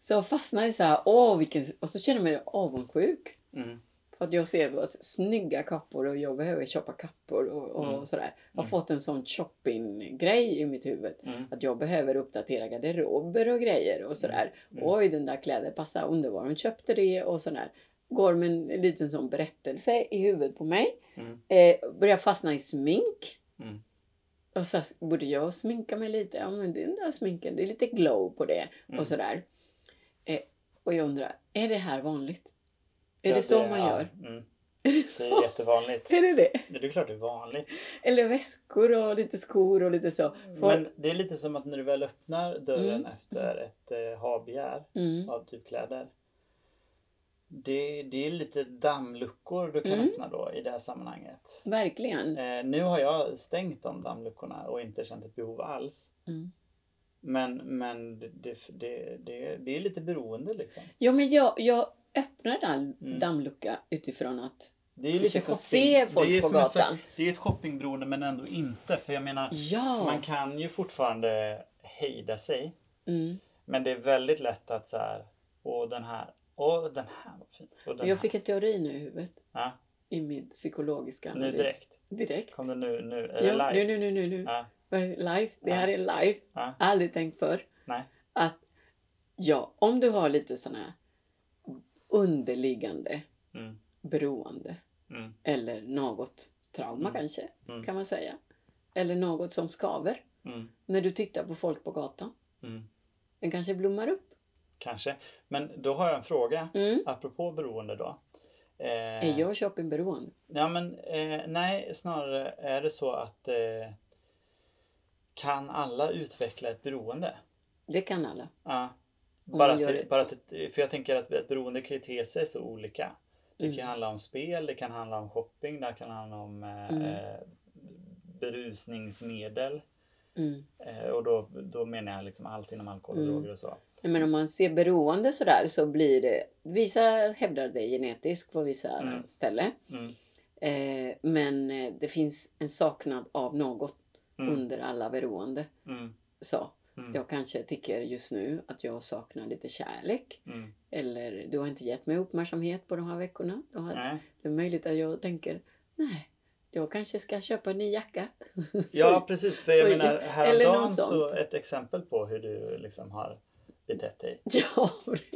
Speaker 1: Så jag fastnar i så här, åh vilken... Och så känner jag mig avundsjuk.
Speaker 2: Mm.
Speaker 1: För att jag ser vad snygga kappor och jag behöver köpa kappor och, och
Speaker 2: Mm.
Speaker 1: sådär. Jag har
Speaker 2: Mm.
Speaker 1: fått en sån shopping-grej i mitt huvud.
Speaker 2: Mm.
Speaker 1: Att jag behöver uppdatera garderober och grejer och sådär.
Speaker 2: Mm.
Speaker 1: Oj, den där kläder passar underbart. Hon köpte det och sådär. Går med en liten sån berättelse i huvudet på mig.
Speaker 2: Mm.
Speaker 1: Eh, börjar fastna i smink.
Speaker 2: Mm.
Speaker 1: Och så borde jag sminka mig lite. Ja, men den där sminken, det är lite glow på det.
Speaker 2: Mm.
Speaker 1: Och sådär. Eh, och jag undrar, är det här vanligt? Är
Speaker 2: Ja,
Speaker 1: det så man
Speaker 2: ja.
Speaker 1: gör?
Speaker 2: Mm.
Speaker 1: Är det
Speaker 2: Det
Speaker 1: så?
Speaker 2: är jättevanligt.
Speaker 1: Är det det?
Speaker 2: Det är klart det är vanligt.
Speaker 1: Eller väskor och lite skor och lite så. Folk-
Speaker 2: Men det är lite som att när du väl öppnar dörren
Speaker 1: Mm.
Speaker 2: efter ett eh, habegär
Speaker 1: Mm.
Speaker 2: av typ kläder. Det, det är lite dammluckor du kan
Speaker 1: Mm.
Speaker 2: öppna då i det här sammanhanget.
Speaker 1: Verkligen.
Speaker 2: Eh, nu har jag stängt de dammluckorna och inte känt ett behov alls.
Speaker 1: Mm.
Speaker 2: Men, men det, det, det, det, det är lite beroende liksom.
Speaker 1: Ja, men jag, jag öppnar den
Speaker 2: Mm.
Speaker 1: dammlucka utifrån att
Speaker 2: Det är lite
Speaker 1: försöka
Speaker 2: shopping.
Speaker 1: se folk
Speaker 2: det är
Speaker 1: på
Speaker 2: som ett så-
Speaker 1: gatan.
Speaker 2: Det är ett shoppingberoende men ändå inte. För jag menar,
Speaker 1: Ja.
Speaker 2: Ah, man kan ju fortfarande hejda sig.
Speaker 1: Mm.
Speaker 2: Men det är väldigt lätt att så här, åh den här, åh den här var fin. Och den
Speaker 1: Jag
Speaker 2: här.
Speaker 1: fick en teori nu i huvudet.
Speaker 2: Ja,
Speaker 1: I min psykologiska
Speaker 2: nu
Speaker 1: analys.
Speaker 2: direkt.
Speaker 1: Direkt.
Speaker 2: Kom det nu, nu, är det
Speaker 1: Ja,
Speaker 2: live? Ah.
Speaker 1: nu, nu, nu, nu, nu.
Speaker 2: Ja,
Speaker 1: Var det Live. Det
Speaker 2: Ja.
Speaker 1: här är live.
Speaker 2: ja,
Speaker 1: Aldrig tänkt för.
Speaker 2: nej.
Speaker 1: Att ja, om du har lite sådana här underliggande
Speaker 2: Mm,
Speaker 1: beroende.
Speaker 2: mm,
Speaker 1: Eller något trauma
Speaker 2: Mm.
Speaker 1: kanske,
Speaker 2: Mm.
Speaker 1: kan man säga. Eller något som skaver.
Speaker 2: mm,
Speaker 1: När du tittar på folk på gatan.
Speaker 2: mm.
Speaker 1: Den kanske blommar upp.
Speaker 2: Kanske. Men då har jag en fråga,
Speaker 1: Mm.
Speaker 2: apropå beroende då. Eh,
Speaker 1: Är jag shoppingberoende?
Speaker 2: Ja, men, eh, nej, snarare är det så att eh, kan alla utveckla ett beroende?
Speaker 1: Det kan alla.
Speaker 2: Ja.
Speaker 1: man
Speaker 2: Bara att,
Speaker 1: gör
Speaker 2: det-
Speaker 1: det.
Speaker 2: bara att, det- för jag tänker att ett beroende kan ju te sig så olika. Det kan
Speaker 1: Mm.
Speaker 2: handla om spel, det kan handla om shopping, det kan handla om eh,
Speaker 1: Mm.
Speaker 2: eh, berusningsmedel.
Speaker 1: Mm.
Speaker 2: Eh, och då, då menar jag liksom allt inom alkohol och
Speaker 1: Mm.
Speaker 2: droger och så.
Speaker 1: Nej, Men om man ser beroende sådär så blir det... Vissa hävdar det är genetiskt på vissa
Speaker 2: Mm.
Speaker 1: ställen.
Speaker 2: Mm.
Speaker 1: Eh, men eh, det finns en saknad av något
Speaker 2: Mm.
Speaker 1: under alla beroende.
Speaker 2: Mm.
Speaker 1: Så
Speaker 2: Mm.
Speaker 1: jag kanske tycker just nu att jag saknar lite kärlek.
Speaker 2: Mm.
Speaker 1: Eller du har inte gett mig uppmärksamhet på de här veckorna. Du har,
Speaker 2: Nej.
Speaker 1: Det är möjligt att jag tänker, nej, jag kanske ska köpa en ny jacka. Så-
Speaker 2: Ja precis, för jag
Speaker 1: så-
Speaker 2: menar
Speaker 1: eller någon
Speaker 2: häromdagen
Speaker 1: sånt.
Speaker 2: så ett exempel på hur du liksom har betett dig.
Speaker 1: Ja,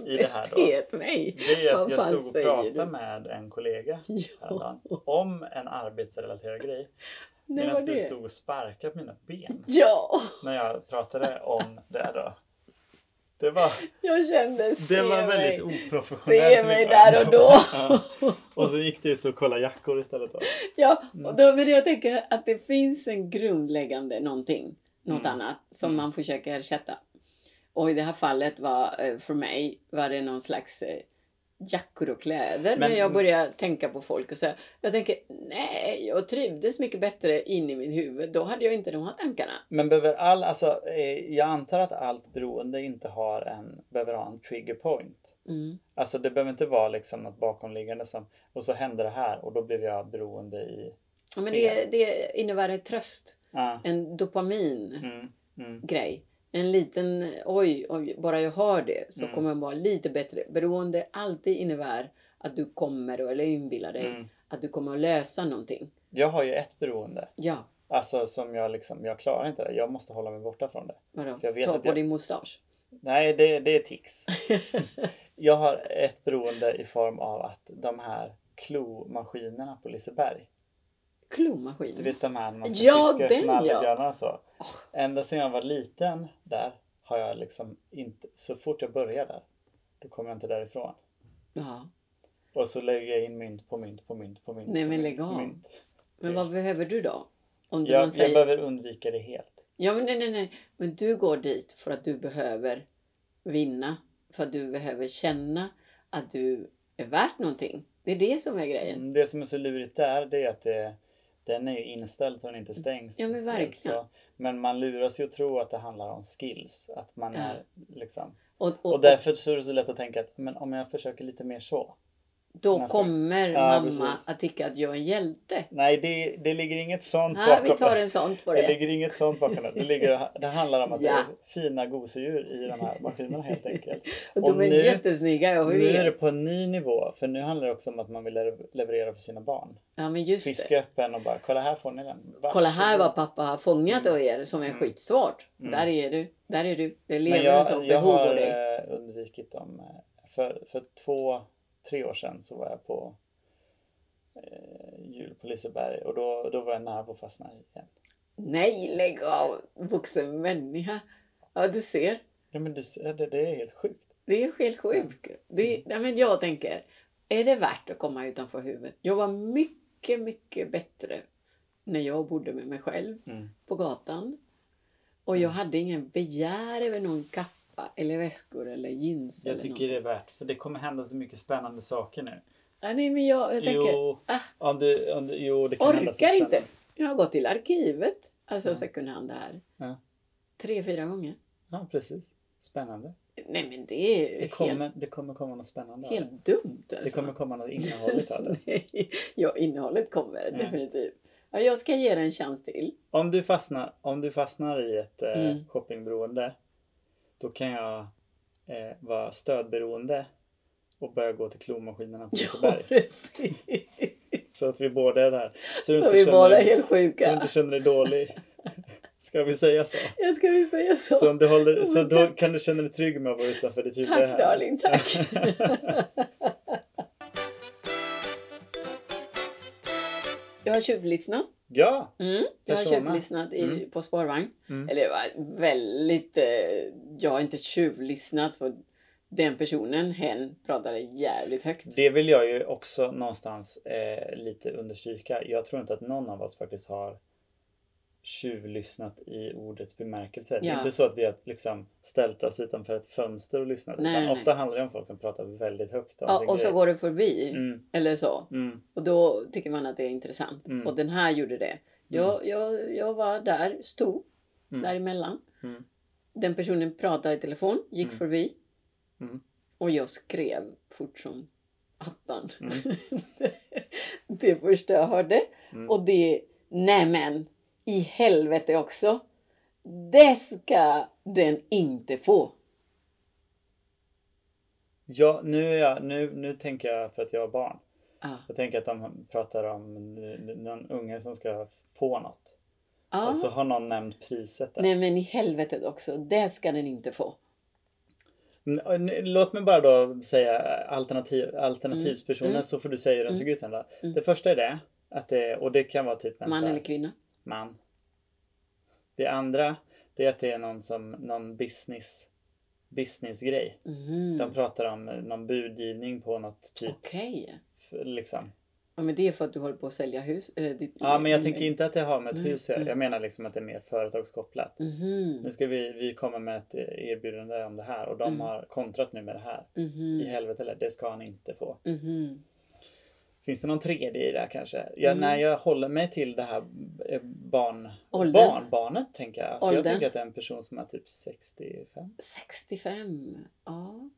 Speaker 2: I det här då?
Speaker 1: betett mig.
Speaker 2: Det är att
Speaker 1: Vad
Speaker 2: jag
Speaker 1: fan
Speaker 2: stod och
Speaker 1: säger
Speaker 2: pratade
Speaker 1: du?
Speaker 2: med en kollega
Speaker 1: Ja,
Speaker 2: häromdagen om en arbetsrelaterad grej.
Speaker 1: det var
Speaker 2: Medan du
Speaker 1: det.
Speaker 2: stod och sparkade på mina ben.
Speaker 1: Ja,
Speaker 2: när jag pratade om det då. Det var,
Speaker 1: jag kände, se
Speaker 2: det var väldigt
Speaker 1: mig.
Speaker 2: oprofessionellt.
Speaker 1: Se mig där och då.
Speaker 2: Ja. och så gick du ut och kollade jackor istället då.
Speaker 1: Ja,
Speaker 2: Mm.
Speaker 1: och då, men jag tänker att det finns en grundläggande någonting, något
Speaker 2: Mm.
Speaker 1: annat, som
Speaker 2: Mm.
Speaker 1: man försöker ersätta. Och i det här fallet var, eh, för mig, var det någon slags eh, jackor och kläder
Speaker 2: Men-
Speaker 1: när jag började tänka på folk och så. Jag tänker, nej, jag trivdes mycket bättre in i mitt huvud. Då hade jag inte de här tankarna.
Speaker 2: Men behöver all, alltså, eh, jag antar att allt beroende inte har en, behöver ha en trigger point.
Speaker 1: Mm.
Speaker 2: Alltså det behöver inte vara liksom något bakomliggande som, och så hände det här och då blev jag beroende i
Speaker 1: Ja,
Speaker 2: spel.
Speaker 1: men det, det innebär ett tröst,
Speaker 2: Ja.
Speaker 1: en dopamin.
Speaker 2: Mm, mm,
Speaker 1: grej. En liten, oj, oj, bara jag hör det så
Speaker 2: Mm.
Speaker 1: kommer jag vara lite bättre. Beroende alltid innebär att du kommer, eller inbillar dig,
Speaker 2: mm.
Speaker 1: att du kommer att lösa någonting.
Speaker 2: Jag har ju ett beroende
Speaker 1: Ja,
Speaker 2: Alltså som jag liksom, jag klarar inte det. Jag måste hålla mig borta från det.
Speaker 1: Vadå?
Speaker 2: För jag vet
Speaker 1: Ta
Speaker 2: att
Speaker 1: på
Speaker 2: jag-
Speaker 1: din mustasch.
Speaker 2: Nej, det, det är tics. Jag har ett beroende i form av att de här klomaskinerna på Liseberg. Du
Speaker 1: Klomaskin.
Speaker 2: vet de här när man ska
Speaker 1: Ja,
Speaker 2: fiska
Speaker 1: den,
Speaker 2: upp
Speaker 1: ja.
Speaker 2: nallebjörnar och så.
Speaker 1: Åh.
Speaker 2: Ända sedan jag var liten där har jag liksom inte, så fort jag börjar där, då kommer jag inte därifrån.
Speaker 1: Ja.
Speaker 2: Och så lägger jag in mynt på mynt på mynt på mynt.
Speaker 1: Nej,
Speaker 2: på
Speaker 1: men
Speaker 2: mynt
Speaker 1: lägg
Speaker 2: på
Speaker 1: av.
Speaker 2: mynt.
Speaker 1: Men vad behöver du då? Om du man
Speaker 2: Jag, jag
Speaker 1: säger...
Speaker 2: behöver undvika det helt.
Speaker 1: Ja, men nej, nej, nej. Men du går dit för att du behöver vinna. För att du behöver känna att du är värt någonting. Det är det som är grejen.
Speaker 2: Mm, Det som är så lurigt där det är att det, den är ju inställd så den inte stängs.
Speaker 1: Ja, men verkligen.
Speaker 2: Så- men man luras ju att tro att det handlar om skills. Att man
Speaker 1: Ja.
Speaker 2: är liksom.
Speaker 1: Och, och,
Speaker 2: Och därför så är det så lätt att tänka att men om jag försöker lite mer så.
Speaker 1: då
Speaker 2: nästa-
Speaker 1: kommer
Speaker 2: Ja,
Speaker 1: mamma
Speaker 2: precis. Mm,
Speaker 1: att tycka att jag är en hjälte.
Speaker 2: Nej, det, det ligger inget sånt
Speaker 1: Ja,
Speaker 2: bakom
Speaker 1: vi tar
Speaker 2: det.
Speaker 1: en sån på
Speaker 2: Det
Speaker 1: det.
Speaker 2: ligger inget sånt bakom det. Det, ligger, det handlar om att
Speaker 1: Ja.
Speaker 2: det är fina gosedjur i de här maskinerna helt enkelt.
Speaker 1: Och de
Speaker 2: och
Speaker 1: är
Speaker 2: nu-
Speaker 1: jättesnygga, jag
Speaker 2: Nu är det
Speaker 1: vet.
Speaker 2: på en ny nivå, för nu handlar det också om att man vill lever- leverera för sina barn.
Speaker 1: Ja, men just det.
Speaker 2: Fiska upp en och bara, kolla här får ni den.
Speaker 1: Kolla här
Speaker 2: Varsågod.
Speaker 1: vad pappa har fångat av er som är
Speaker 2: Mm.
Speaker 1: skitsvårt.
Speaker 2: Mm.
Speaker 1: Där är du, där är du. Det
Speaker 2: Men
Speaker 1: lever en
Speaker 2: jag,
Speaker 1: sån
Speaker 2: jag
Speaker 1: behov av
Speaker 2: har
Speaker 1: dig.
Speaker 2: eh, undvikit dem. eh, För, för två, tre år sedan så var jag på eh, jul på Liseberg och då, då var jag nära på att fastna igen.
Speaker 1: Nej, lägg av! Vuxen människa. Ja, du ser.
Speaker 2: Ja men du ser, det, det är helt sjukt.
Speaker 1: Det är helt sjukt. Det, nej, men jag tänker, är det värt att komma utanför huvudet? Jag var mycket, mycket bättre när jag bodde med mig själv
Speaker 2: Mm.
Speaker 1: på gatan. Och jag hade ingen begär över någon kappa eller väskor eller jeans.
Speaker 2: Jag
Speaker 1: eller
Speaker 2: tycker det är värt, för det kommer hända så mycket spännande saker nu.
Speaker 1: något. Ja, nej, men jag, jag tänker,
Speaker 2: Jo,
Speaker 1: ah,
Speaker 2: om du, om du, jo det kan hända så
Speaker 1: orkar
Speaker 2: spännande.
Speaker 1: inte. Jag har gått till arkivet, alltså
Speaker 2: Ja.
Speaker 1: second hand här,
Speaker 2: Ja.
Speaker 1: tre, fyra gånger.
Speaker 2: Ja precis. Spännande.
Speaker 1: Nej men det är
Speaker 2: Det
Speaker 1: helt,
Speaker 2: kommer, det kommer komma något spännande av det.
Speaker 1: helt dumt alltså.
Speaker 2: Det kommer komma något innehåll utav det.
Speaker 1: Nej, ja, innehållet kommer
Speaker 2: Ja.
Speaker 1: definitivt. Ja, jag ska ge det en chans till.
Speaker 2: Om du fastnar, om du fastnar i ett eh,
Speaker 1: Mm.
Speaker 2: shoppingberoende då kan jag eh, vara stödberoende och börja gå till klomaskinerna på
Speaker 1: Ja,
Speaker 2: Liseberg.
Speaker 1: precis.
Speaker 2: Så att vi båda är där. Så du
Speaker 1: Så
Speaker 2: inte,
Speaker 1: vi
Speaker 2: känner,
Speaker 1: båda är
Speaker 2: dig,
Speaker 1: helt
Speaker 2: så du
Speaker 1: sjuka.
Speaker 2: inte känner dig dålig. Ska vi säga så?
Speaker 1: Jag ska väl säga så.
Speaker 2: Så, om du håller,
Speaker 1: men
Speaker 2: så då
Speaker 1: tack.
Speaker 2: kan du känna dig trygg med att vara utanför ditt huvud
Speaker 1: tack
Speaker 2: här.
Speaker 1: darling, tack. jag har tjuvlyssnat.
Speaker 2: Ja!
Speaker 1: Mm, jag har
Speaker 2: Persona.
Speaker 1: tjuvlyssnat i,
Speaker 2: Mm.
Speaker 1: på spårvagn.
Speaker 2: Mm.
Speaker 1: Eller det var väldigt... Eh, jag har inte tjuvlyssnat på den personen. Hen pratade jävligt högt.
Speaker 2: Det vill jag ju också någonstans eh, lite understryka. Jag tror inte att någon av oss faktiskt har tjuvlyssnat i ordets bemärkelse. Det är
Speaker 1: Ja.
Speaker 2: inte så att vi har liksom ställt oss utanför ett fönster och lyssnat.
Speaker 1: Nej,
Speaker 2: utan
Speaker 1: nej,
Speaker 2: ofta handlar det om folk som pratar väldigt högt om
Speaker 1: Ja,
Speaker 2: sin
Speaker 1: och så
Speaker 2: grej.
Speaker 1: går det förbi.
Speaker 2: Mm,
Speaker 1: Eller så.
Speaker 2: mm,
Speaker 1: Och då tycker man att det är intressant.
Speaker 2: Mm.
Speaker 1: Och den här gjorde det. Jag, jag, jag var där, stod
Speaker 2: Mm.
Speaker 1: däremellan.
Speaker 2: Mm.
Speaker 1: Den personen pratade i telefon, gick
Speaker 2: Mm.
Speaker 1: förbi.
Speaker 2: Mm.
Speaker 1: Och jag skrev fort som attan.
Speaker 2: Mm.
Speaker 1: det första jag hörde.
Speaker 2: Mm.
Speaker 1: Och det, nämen, i helvete också. Det ska den inte få.
Speaker 2: ja, nu, är jag, nu, nu tänker jag för att jag har barn.
Speaker 1: Ja,
Speaker 2: Jag tänker att de pratar om n- n- någon unge som ska få något.
Speaker 1: Ja.
Speaker 2: Och så har någon nämnt priset där.
Speaker 1: Nej men i helvetet också. Det ska den inte få.
Speaker 2: N- n- Låt mig bara då säga alternativ, alternativspersoner
Speaker 1: Mm.
Speaker 2: så får du säga hur de
Speaker 1: Mm.
Speaker 2: såg ut sen då.
Speaker 1: Mm.
Speaker 2: Det första är det, att det, och det kan vara typ en
Speaker 1: Man
Speaker 2: så här,
Speaker 1: eller kvinna.
Speaker 2: man. Det andra, det är att det är någon, som, någon business, businessgrej.
Speaker 1: Mhm.
Speaker 2: De pratar om eh, någon budgivning på något typ,
Speaker 1: Okej.
Speaker 2: f- liksom.
Speaker 1: Ja, men det är för att du håller på att sälja hus. Äh, ditt,
Speaker 2: Ja men jag tänker inte att det har med ett
Speaker 1: Mm,
Speaker 2: hus att göra.
Speaker 1: mm.
Speaker 2: Jag menar liksom att det är mer företagskopplat.
Speaker 1: Mhm,
Speaker 2: Nu ska vi, vi komma med ett erbjudande om det här och de
Speaker 1: Mm.
Speaker 2: har kontrat nu med det här. I
Speaker 1: mhm,
Speaker 2: helvete eller, det ska han inte få.
Speaker 1: mhm.
Speaker 2: Finns det någon tredje i det här kanske? Jag,
Speaker 1: Mm.
Speaker 2: Nej, jag håller mig till det här eh, barn,
Speaker 1: Åldern.
Speaker 2: barnbarnet tänker jag. Så jag
Speaker 1: Åldern.
Speaker 2: tänker att det är en person som är typ 65.
Speaker 1: 65. Ja,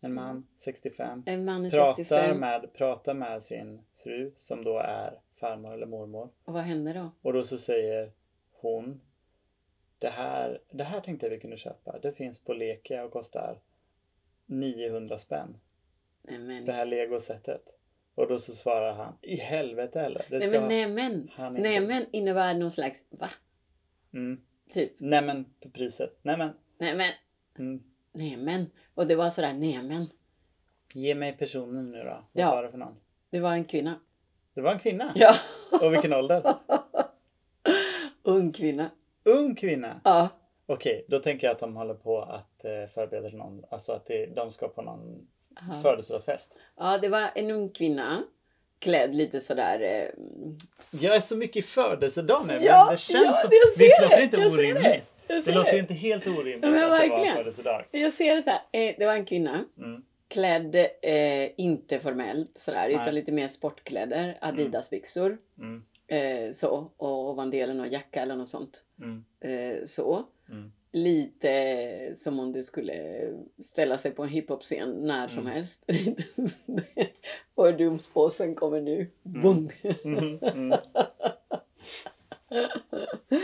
Speaker 2: En man, 65.
Speaker 1: en man är
Speaker 2: Pratar,
Speaker 1: 65.
Speaker 2: Med, pratar med sin fru som då är farmor eller mormor.
Speaker 1: Och vad händer då?
Speaker 2: Och då så säger hon. Det här, det här tänkte jag vi kunde köpa. Det finns på Lekia och kostar 900 spänn.
Speaker 1: Nej,
Speaker 2: Det
Speaker 1: men,
Speaker 2: här legosättet. Och då så svarar han, i helvete heller. Det
Speaker 1: Nej
Speaker 2: ska
Speaker 1: men
Speaker 2: vara-
Speaker 1: nej men.
Speaker 2: han är
Speaker 1: Nej
Speaker 2: inte-
Speaker 1: men innebär någon slags va?
Speaker 2: Mm.
Speaker 1: Typ.
Speaker 2: Nej men på priset. Nej men.
Speaker 1: Nej men.
Speaker 2: Mm.
Speaker 1: Nej men. Och det var sådär nej men.
Speaker 2: Ge mig personen nu då. Vad
Speaker 1: Ja.
Speaker 2: var det för någon?
Speaker 1: Det var en kvinna.
Speaker 2: Det var en kvinna.
Speaker 1: Ja.
Speaker 2: Och vilken ålder?
Speaker 1: Ung kvinna.
Speaker 2: Ung kvinna.
Speaker 1: Ja.
Speaker 2: Okej, då tänker jag att de håller på att eh, förbereda till någon. Alltså att det, de ska på någon
Speaker 1: Aha.
Speaker 2: födelsedagsfest.
Speaker 1: Ja, det var en ung kvinna. Klädd lite sådär... Eh,
Speaker 2: Jag är så mycket i födelsedag nu.
Speaker 1: Ja,
Speaker 2: men det känns
Speaker 1: ja,
Speaker 2: som...
Speaker 1: jag ser
Speaker 2: Visst
Speaker 1: det,
Speaker 2: låter det inte
Speaker 1: jag ser det.
Speaker 2: orimligt?
Speaker 1: jag
Speaker 2: Det
Speaker 1: ser
Speaker 2: låter ju
Speaker 1: det.
Speaker 2: inte helt orimligt
Speaker 1: Ja, men
Speaker 2: att det
Speaker 1: verkligen.
Speaker 2: var födelsedag.
Speaker 1: Jag ser det så här. Eh, det var en kvinna.
Speaker 2: Mm.
Speaker 1: Klädd eh, inte formellt sådär,
Speaker 2: Nej.
Speaker 1: utan lite mer sportkläder. Adidas-byxor.
Speaker 2: Mm.
Speaker 1: Eh, så. Och ovandelen och jacka eller något sånt.
Speaker 2: Mm.
Speaker 1: Eh, så.
Speaker 2: Mm.
Speaker 1: Lite som om du skulle ställa sig på en hiphop-scen när som
Speaker 2: Mm.
Speaker 1: helst. Lite sådär. och dumspåsen kommer nu. Boom!
Speaker 2: Mm. Mm.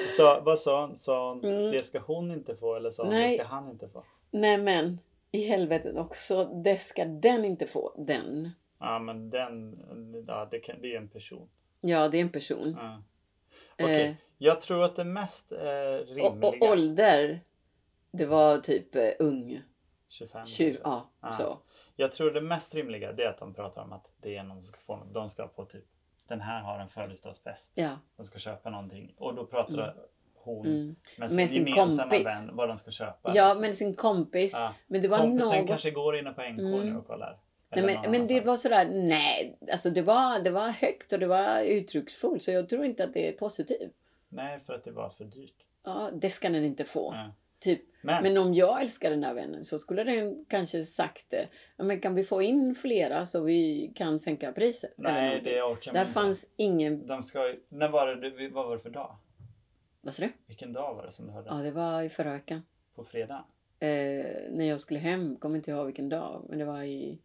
Speaker 2: Så vad sa hon? Sa hon
Speaker 1: Mm.
Speaker 2: det ska hon inte få eller sa hon
Speaker 1: Nej.
Speaker 2: det ska han inte få?
Speaker 1: Nej men, i helvetet också. Det ska den inte få. Den.
Speaker 2: Ja men den, ja, det, kan, det är ju en person.
Speaker 1: Ja, det är en person.
Speaker 2: Ja. Ah, Okej,
Speaker 1: Eh.
Speaker 2: jag tror att det mest eh,
Speaker 1: Och, och
Speaker 2: rimliga...
Speaker 1: ålder. Det var typ eh, ung.
Speaker 2: 25
Speaker 1: 20,
Speaker 2: kanske.
Speaker 1: ja,
Speaker 2: Ah.
Speaker 1: så.
Speaker 2: Jag tror det mest rimliga det är att de pratar om att det är någon som ska få något. De ska på typ, den här har en födelsedagsfest.
Speaker 1: Ja.
Speaker 2: De ska köpa någonting och då pratar hon
Speaker 1: Mm.
Speaker 2: med sin,
Speaker 1: Med sin
Speaker 2: gemensamma
Speaker 1: kompis.
Speaker 2: vän vad de ska köpa.
Speaker 1: ja,
Speaker 2: liksom.
Speaker 1: men sin kompis.
Speaker 2: Ja.
Speaker 1: Men det var
Speaker 2: Kompisen
Speaker 1: något...
Speaker 2: kanske går inne på NK nu
Speaker 1: Mm.
Speaker 2: och kollar.
Speaker 1: Nej,
Speaker 2: Eller
Speaker 1: men,
Speaker 2: någon
Speaker 1: men det
Speaker 2: annanstans.
Speaker 1: var sådär, nej. Alltså det var, det var högt och det var uttrycksfullt. Så jag tror inte att det är positivt.
Speaker 2: Nej, för att det var för dyrt.
Speaker 1: Ja, det ska den inte få.
Speaker 2: Ja.
Speaker 1: Typ.
Speaker 2: Men,
Speaker 1: Men om jag älskar den här vännen så skulle den kanske sagt det. Ja, men kan vi få in flera så vi kan sänka priset? eller
Speaker 2: nej,
Speaker 1: någonting?
Speaker 2: det orkar man
Speaker 1: Där
Speaker 2: inte.
Speaker 1: fanns ingen...
Speaker 2: De ska ju, när var det, du- vad var det för dag?
Speaker 1: Vad sa du?
Speaker 2: Vilken dag var det som du hörde?
Speaker 1: Ja, det var i förra veckan.
Speaker 2: På fredag?
Speaker 1: eh, när jag skulle hem, kommer inte ihåg vilken dag, men det var i,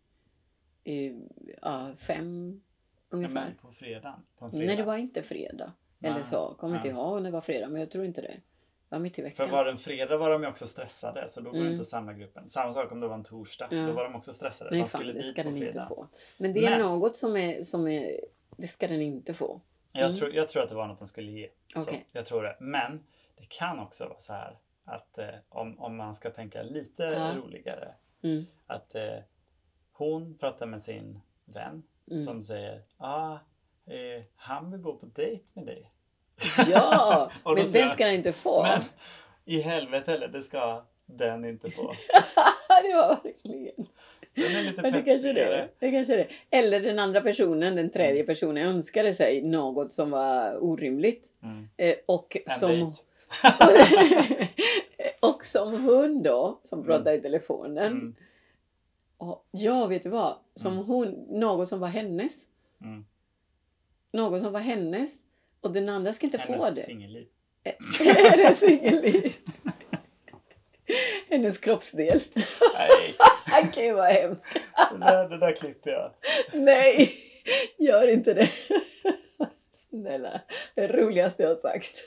Speaker 1: i ja, fem
Speaker 2: Ja,
Speaker 1: ungefär.
Speaker 2: men på fredag? På en fredag.
Speaker 1: Nej, det var inte fredag. Eller
Speaker 2: Nej.
Speaker 1: så, kommer inte
Speaker 2: Nej.
Speaker 1: ihåg om det var fredag, men jag tror inte det. Det var mitt i
Speaker 2: För
Speaker 1: veckan.
Speaker 2: var det en fredag var de ju också stressade så då går det
Speaker 1: Mm.
Speaker 2: inte att samla gruppen. Samma sak om det var en torsdag.
Speaker 1: Ja.
Speaker 2: Då var de också stressade.
Speaker 1: Nej,
Speaker 2: de
Speaker 1: fan,
Speaker 2: skulle
Speaker 1: det
Speaker 2: dit
Speaker 1: ska
Speaker 2: på
Speaker 1: den inte
Speaker 2: fredag.
Speaker 1: få. Men det är
Speaker 2: Men-
Speaker 1: något som är, som är... Det ska den inte få.
Speaker 2: Jag,
Speaker 1: Mm.
Speaker 2: tror, jag tror att det var något de skulle ge. Så,
Speaker 1: Okej.
Speaker 2: jag tror det. Men det kan också vara så här att eh, om, om man ska tänka lite
Speaker 1: Ja.
Speaker 2: roligare.
Speaker 1: Mm.
Speaker 2: Att eh, hon pratar med sin vän
Speaker 1: Mm.
Speaker 2: som säger ah, eh, han vill gå på dejt med dig.
Speaker 1: Ja,
Speaker 2: Och då
Speaker 1: men den
Speaker 2: säger jag,
Speaker 1: ska den inte få.
Speaker 2: Men i helvete eller det ska den inte få.
Speaker 1: det var verkligen...
Speaker 2: Den är lite
Speaker 1: Ja, det kanske det,
Speaker 2: peppigare.
Speaker 1: är. det kanske det. är. Eller den andra personen, den
Speaker 2: Mm.
Speaker 1: tredje personen, önskade sig något som var orimligt.
Speaker 2: Mm.
Speaker 1: Eh, och,
Speaker 2: En
Speaker 1: som,
Speaker 2: dejt.
Speaker 1: och som hon då, som
Speaker 2: Mm.
Speaker 1: pratade i telefonen.
Speaker 2: Mm.
Speaker 1: Och, ja, vet du vad? Som
Speaker 2: Mm.
Speaker 1: hon, något som var hennes.
Speaker 2: Mm.
Speaker 1: Något som var hennes. Och den andra ska inte få
Speaker 2: Hennes
Speaker 1: det.
Speaker 2: singelliv.
Speaker 1: hennes singelliv. hennes kroppsdel.
Speaker 2: Nej,
Speaker 1: Gud vad hemskt.
Speaker 2: det där, det där klipper jag.
Speaker 1: Nej, gör inte det. Snälla, det roligaste jag har sagt.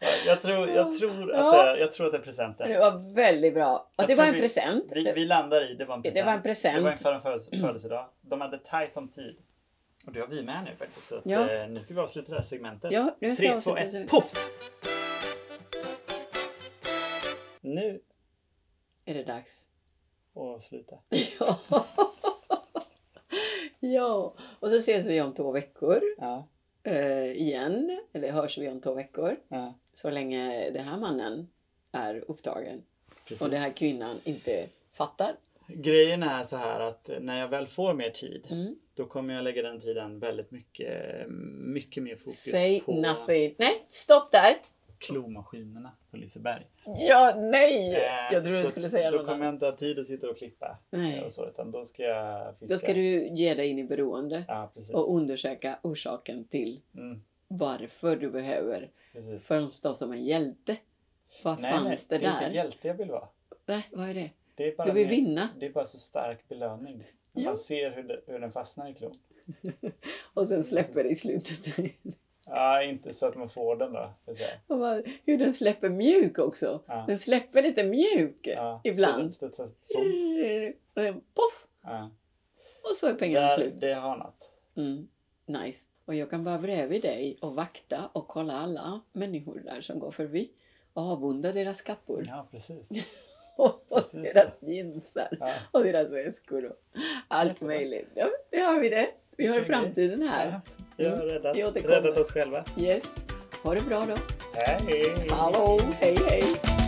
Speaker 2: Ja, Jag tror, jag tror, att,
Speaker 1: Ja.
Speaker 2: det, jag tror att det är presenten.
Speaker 1: Det var väldigt bra. Och
Speaker 2: Jag
Speaker 1: det var
Speaker 2: tror
Speaker 1: en
Speaker 2: vi-
Speaker 1: present.
Speaker 2: Vi, vi landar i, det var en present.
Speaker 1: Det var en
Speaker 2: Det var
Speaker 1: present.
Speaker 2: inför en födels- födelsedag. De hade tajt om tid. Och det har vi med nu faktiskt. Så att,
Speaker 1: Ja.
Speaker 2: eh, nu ska vi avsluta det här segmentet.
Speaker 1: Ja, nu ska jag
Speaker 2: Tre, två,
Speaker 1: avsluta.
Speaker 2: ett,
Speaker 1: så-
Speaker 2: poff! Nu
Speaker 1: Är det dags?
Speaker 2: och sluta.
Speaker 1: Ja. ja. Och så ses vi om två veckor
Speaker 2: Ja,
Speaker 1: eh, igen. Eller hörs vi om två veckor.
Speaker 2: ja,
Speaker 1: Så länge den här mannen är upptagen
Speaker 2: precis.
Speaker 1: och den här kvinnan inte fattar.
Speaker 2: Grejen är så här att när jag väl får mer tid
Speaker 1: Mm.
Speaker 2: då kommer jag lägga den tiden väldigt mycket, mycket mer fokus
Speaker 1: Say
Speaker 2: på
Speaker 1: nothing. Nej, stopp där.
Speaker 2: klomaskinerna på Liseberg.
Speaker 1: Ja, nej!
Speaker 2: Eh,
Speaker 1: jag trodde
Speaker 2: så
Speaker 1: du skulle säga
Speaker 2: Då
Speaker 1: något
Speaker 2: kommer
Speaker 1: annat.
Speaker 2: jag inte ha tid att sitta och klippa. eh,
Speaker 1: Nej.
Speaker 2: Och så, utan då ska jag fiska.
Speaker 1: Då ska du ge dig in i beroende
Speaker 2: Ja, precis.
Speaker 1: och undersöka orsaken till
Speaker 2: Mm,
Speaker 1: varför du behöver
Speaker 2: precis.
Speaker 1: framstå som en hjälte. Vad fanns det
Speaker 2: det är inte
Speaker 1: där?
Speaker 2: hjälte jag vill vara.
Speaker 1: Nej, vad är det?
Speaker 2: Det är bara,
Speaker 1: Du vill
Speaker 2: mer-
Speaker 1: vinna.
Speaker 2: Det är bara så stark belöning. När
Speaker 1: Ja.
Speaker 2: Man ser hur, det, hur den fastnar i klon.
Speaker 1: Och sen släpper det i slutet.
Speaker 2: Ja, inte så att man får den då. ska jag säga.
Speaker 1: Och vad- Hur den släpper mjuk också.
Speaker 2: Ja.
Speaker 1: Den släpper lite mjuk
Speaker 2: Ja, så den
Speaker 1: ibland.
Speaker 2: studsar- boom.
Speaker 1: Och sen poff!
Speaker 2: Ja.
Speaker 1: Och så är pengarna
Speaker 2: Där,
Speaker 1: slut.
Speaker 2: det har något.
Speaker 1: Mm, nice. Och jag kan vara bredvid dig och vakta och kolla alla människor där som går förbi och avunda deras kappor
Speaker 2: Ja, precis.
Speaker 1: och,
Speaker 2: precis.
Speaker 1: deras jeansar
Speaker 2: Ja.
Speaker 1: och deras väskor och allt
Speaker 2: Jättebra.
Speaker 1: möjligt. Ja, det har vi det. Vi har
Speaker 2: Kul grej.
Speaker 1: framtiden här.
Speaker 2: Vi har
Speaker 1: Mm.
Speaker 2: räddat,
Speaker 1: Vi återkommer.
Speaker 2: räddat oss själva.
Speaker 1: Yes. Ha det bra då.
Speaker 2: Hej!
Speaker 1: Hallå, hej hej.